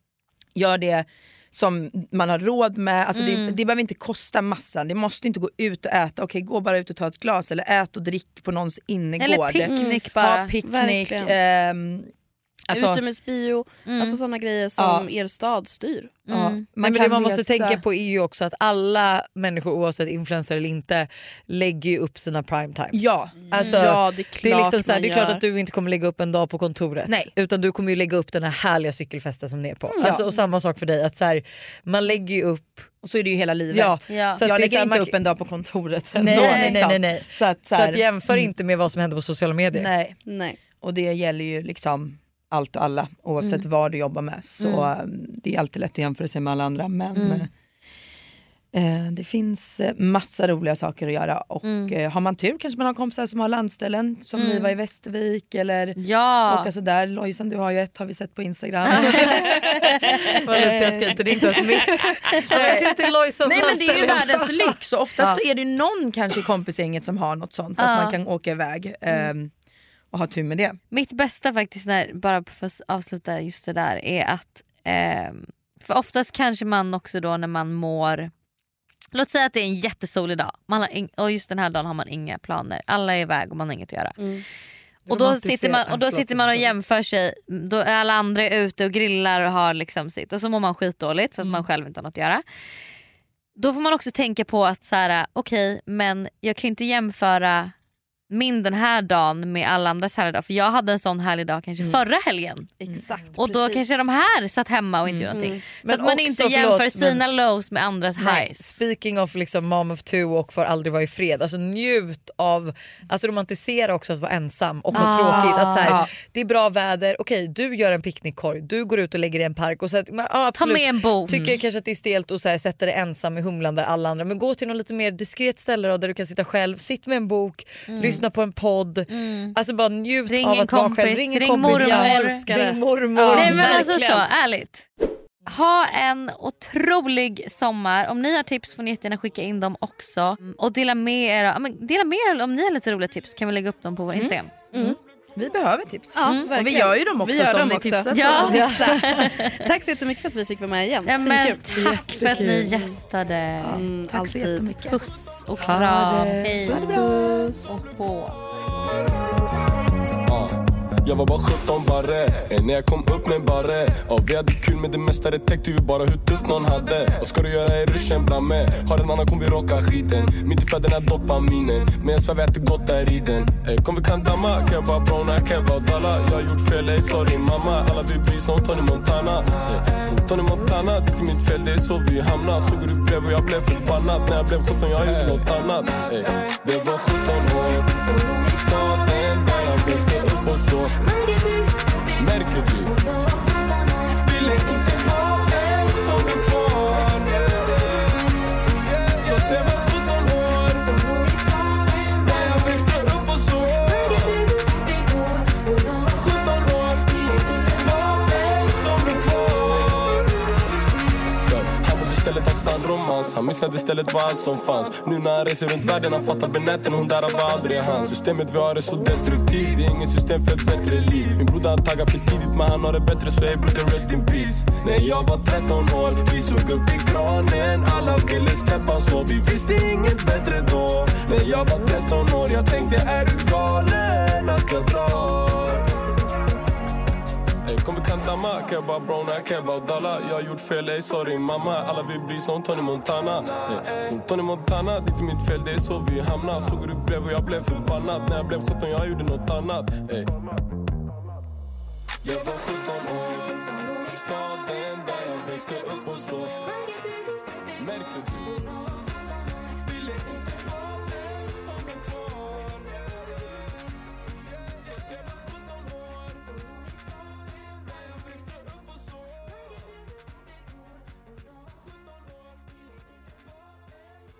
[SPEAKER 4] gör det som man har råd med. Alltså det,
[SPEAKER 1] Mm.
[SPEAKER 4] det behöver inte kosta massan. Det måste inte gå ut och äta. Okej, gå bara ut och ta ett glas eller ät och drick på någons innergård.
[SPEAKER 1] Eller picknick bara.
[SPEAKER 4] Mm. Ha picknick.
[SPEAKER 3] Verkligen.
[SPEAKER 4] ehm, alltså,
[SPEAKER 3] Utomhusbio, alltså sådana grejer som er stad styr.
[SPEAKER 4] ja, Mm. man
[SPEAKER 2] Nej, men det
[SPEAKER 4] kan
[SPEAKER 2] man måste
[SPEAKER 4] resa.
[SPEAKER 2] tänka på är ju också att alla människor oavsett influencer eller inte lägger ju upp sina prime times.
[SPEAKER 4] Ja.
[SPEAKER 2] Alltså,
[SPEAKER 3] Ja, det är klart
[SPEAKER 2] det är, liksom så här,
[SPEAKER 3] man
[SPEAKER 2] det är klart
[SPEAKER 3] gör.
[SPEAKER 2] att du inte kommer lägga upp en dag på kontoret
[SPEAKER 4] Nej.
[SPEAKER 2] utan du kommer ju lägga upp den här härliga cykelfesten som ni är på. Alltså, och samma sak för dig, att så här, man lägger ju upp...
[SPEAKER 4] Och så är det ju hela livet.
[SPEAKER 2] Ja,
[SPEAKER 1] Ja.
[SPEAKER 2] Så att
[SPEAKER 4] jag
[SPEAKER 2] det är
[SPEAKER 4] lägger
[SPEAKER 2] så här,
[SPEAKER 4] inte
[SPEAKER 2] man-
[SPEAKER 4] upp en dag på kontoret.
[SPEAKER 2] Nej,
[SPEAKER 4] ändå,
[SPEAKER 2] nej,
[SPEAKER 4] liksom.
[SPEAKER 2] nej, nej.
[SPEAKER 4] Så att,
[SPEAKER 2] Så
[SPEAKER 4] så här, Mm.
[SPEAKER 2] att jämför inte med vad som händer på sociala medier.
[SPEAKER 4] nej.
[SPEAKER 3] Nej.
[SPEAKER 4] Och det gäller ju liksom allt och alla oavsett vad du jobbar med. Så eh, det är alltid lätt att jämföra sig med alla andra men eh, eh, det finns eh, massa roliga saker att göra och eh, har man tur kanske man har kompisar som har landställen som ni var i Västervik eller
[SPEAKER 1] Ja.
[SPEAKER 4] åka sådär. alltså Lojsan du har ju ett har vi sett på Instagram.
[SPEAKER 2] Vad lite jag skryter, det är inte ens mitt. Nej, jag ser till Lojsans
[SPEAKER 4] Nej men det är ju
[SPEAKER 2] anställning.
[SPEAKER 4] världens lyx och oftast så är det ju någon kanske i kompisgänget som har något sånt att man kan åka iväg ehm, och ha tur med det.
[SPEAKER 1] Mitt bästa faktiskt, när, bara för att avsluta just det där, är att ehm, för oftast kanske man också då när man mår Låt säga att det är en jättesolig dag man har ing- och just den här dagen har man inga planer. Alla är iväg och man har inget att göra. Och då,
[SPEAKER 2] Romantisera-
[SPEAKER 1] sitter man, och då
[SPEAKER 2] Mm. förlåt,
[SPEAKER 1] sitter man och
[SPEAKER 2] jag-
[SPEAKER 1] jämför sig. Då är alla andra ute och grillar och har liksom sitt. Och så mår man skitdåligt för att
[SPEAKER 2] Mm.
[SPEAKER 1] man själv inte har något att göra. Då får man också tänka på att så här, okej men jag kan ju inte jämföra min den här dagen med alla andras härliga dag. För jag hade en sån härlig dag kanske
[SPEAKER 2] Mm.
[SPEAKER 1] förra helgen.
[SPEAKER 3] Exakt.
[SPEAKER 1] Och då kanske de här satt hemma och inte gjorde någonting. Så
[SPEAKER 2] Mm. Men
[SPEAKER 1] att man
[SPEAKER 2] också,
[SPEAKER 1] inte
[SPEAKER 2] förlåt,
[SPEAKER 1] jämför
[SPEAKER 2] men-
[SPEAKER 1] sina lows med andras
[SPEAKER 2] Nej,
[SPEAKER 1] highs.
[SPEAKER 2] speaking of liksom mom of two och får aldrig vara i fred. Alltså njut av, alltså romantisera också att vara ensam och ha tråkigt. Att så här, Det är bra väder, okej du gör en picknickkorg, du går ut och lägger i en park. Och så att, men, ja, absolut,
[SPEAKER 1] med en bok.
[SPEAKER 2] Tycker kanske att det är stelt att så här sätta dig ensam i humlan där alla andra. Men gå till något lite mer diskret ställe då, där du kan sitta själv, sitt med en bok, lyssna på en podd. Alltså bara njut
[SPEAKER 1] Mm. Ring
[SPEAKER 2] av
[SPEAKER 1] en
[SPEAKER 2] att vara själv.
[SPEAKER 1] kompis, ring mormor.
[SPEAKER 2] Jag
[SPEAKER 3] älskar det.
[SPEAKER 2] ring mormor.
[SPEAKER 1] Nej men alltså
[SPEAKER 3] verkligen.
[SPEAKER 1] så, ärligt. Ha en otrolig sommar. Om ni har tips får ni jättegärna skicka in dem också. Mm, Och dela med er, ja, men dela med er om ni har lite roliga tips kan vi lägga upp dem
[SPEAKER 2] Mm.
[SPEAKER 1] på vår Instagram.
[SPEAKER 4] Vi behöver tips. Mm.
[SPEAKER 3] Ja,
[SPEAKER 4] Och vi
[SPEAKER 3] verkligen.
[SPEAKER 4] gör ju dem också
[SPEAKER 3] Vi gör
[SPEAKER 4] som
[SPEAKER 3] dem
[SPEAKER 4] ni
[SPEAKER 3] också.
[SPEAKER 4] tipsar
[SPEAKER 1] Ja.
[SPEAKER 4] om.
[SPEAKER 3] Tack så jättemycket för att vi fick vara med igen.
[SPEAKER 1] Ja, men,
[SPEAKER 3] Svinkul.
[SPEAKER 1] Ehm, tack för att ni gästade.
[SPEAKER 3] Mm,
[SPEAKER 4] Tack så
[SPEAKER 3] alltid.
[SPEAKER 4] jättemycket.
[SPEAKER 1] Puss och kram. Hej.
[SPEAKER 4] Puss och kram.
[SPEAKER 1] Och på.
[SPEAKER 7] Ja. Jag var bara 17 barre När jag kom upp med barre Ja vi hade kul men det mesta det täckte ju bara hur tufft någon hade Vad ska du göra i ruschen bramme? Har en annan kommer vi rocka skiten Mitt i fötterna dopaminen Men jag svär vi äter gott där i den Ey, Kom vi kan damma Kebba browna kebba dalla Jag har gjort fel ey sorry mamma Alla vi blir som Tony Montana Ey, Som Tony Montana Det är inte mitt fel det är så vi hamnar Såg hur du blev och jag blev förbannad När jag blev 17 jag gjorde något annat Ey, Det var 17 år i staden där jag växte upp och så Märker du? Vill inte ha den som du får Så det var 17 år där jag växte upp och så 17 år var den som du får För Han vill istället ha sann romans Han missnade istället vad allt som fanns Nu när han reser runt världen han fattar benäten Hon där var aldrig han Systemet vi har är så destruktivt Det är inget system för ett bättre liv Min broder han taggar för tidigt men han har det bättre så ey broder rest in peace När jag var 13 år vi såg upp i kranen Alla ville steppa så vi visste inget bättre då När jag var 13 år jag tänkte är du galen att jag drar Ey, Kom vi kan damma, kebba browna, kebba dalla Jag har gjort fel, ey sorry mamma Alla vi blir som Tony Montana ey, Som Tony Montana, det är inte mitt fel Det är så vi hamnar Såg hur du blev och jag blev förbannad När jag blev 17 jag gjorde något annat ey. Jag var 17 år i Staden där jag växte upp och så Märker du? Ville inte ha den som den var. Så det var 17 år i staden där jag växte upp och så.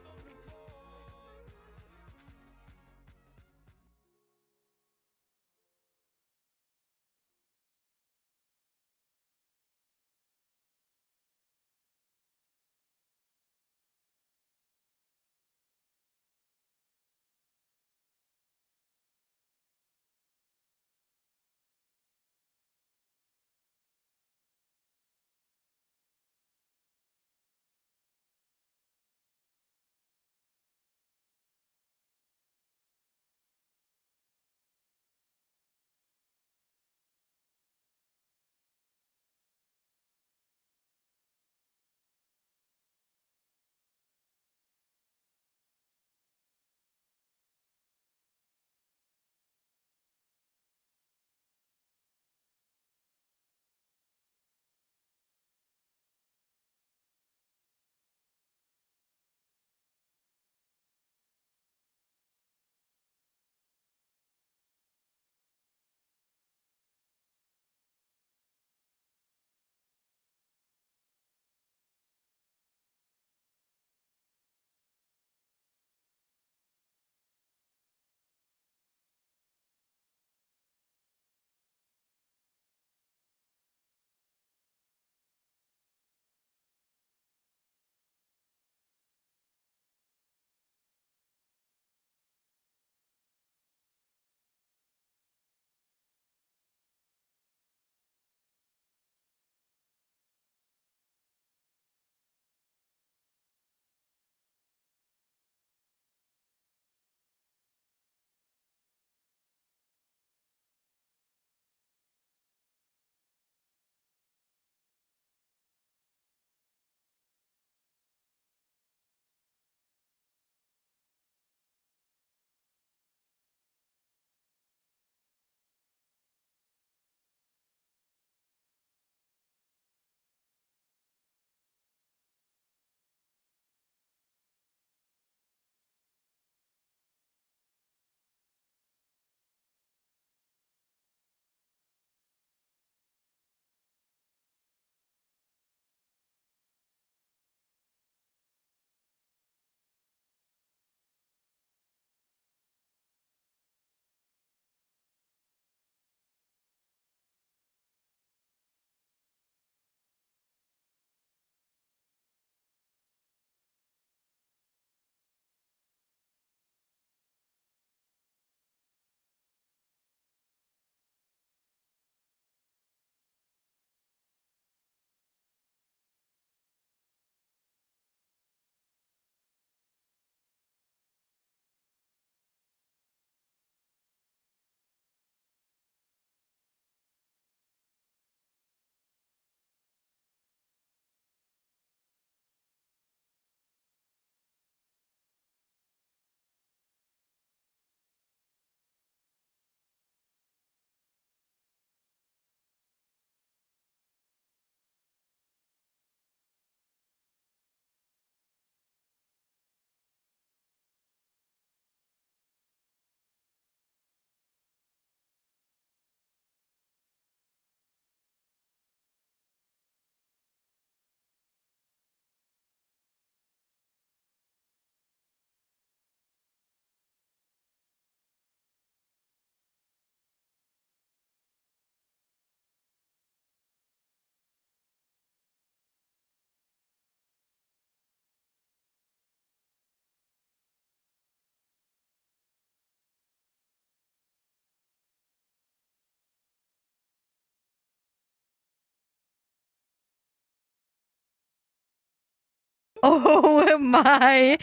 [SPEAKER 1] Oh my!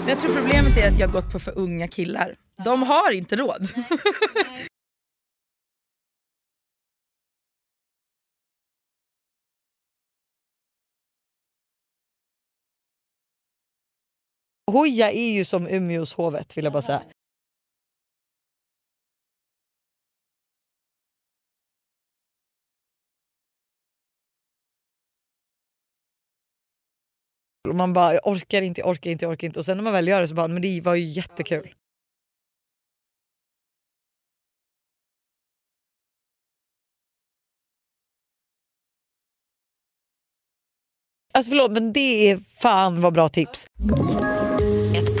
[SPEAKER 4] Men jag tror problemet är att jag har gått på för unga killar. De har inte råd.
[SPEAKER 2] Hoja är ju som Umeås hovet vill jag bara säga. Och man bara jag orkar inte, jag orkar inte, jag orkar inte. Och sen när man väl gör det så bara men det var ju jättekul. Alltså förlåt men det är fan vad bra tips.
[SPEAKER 5] Ett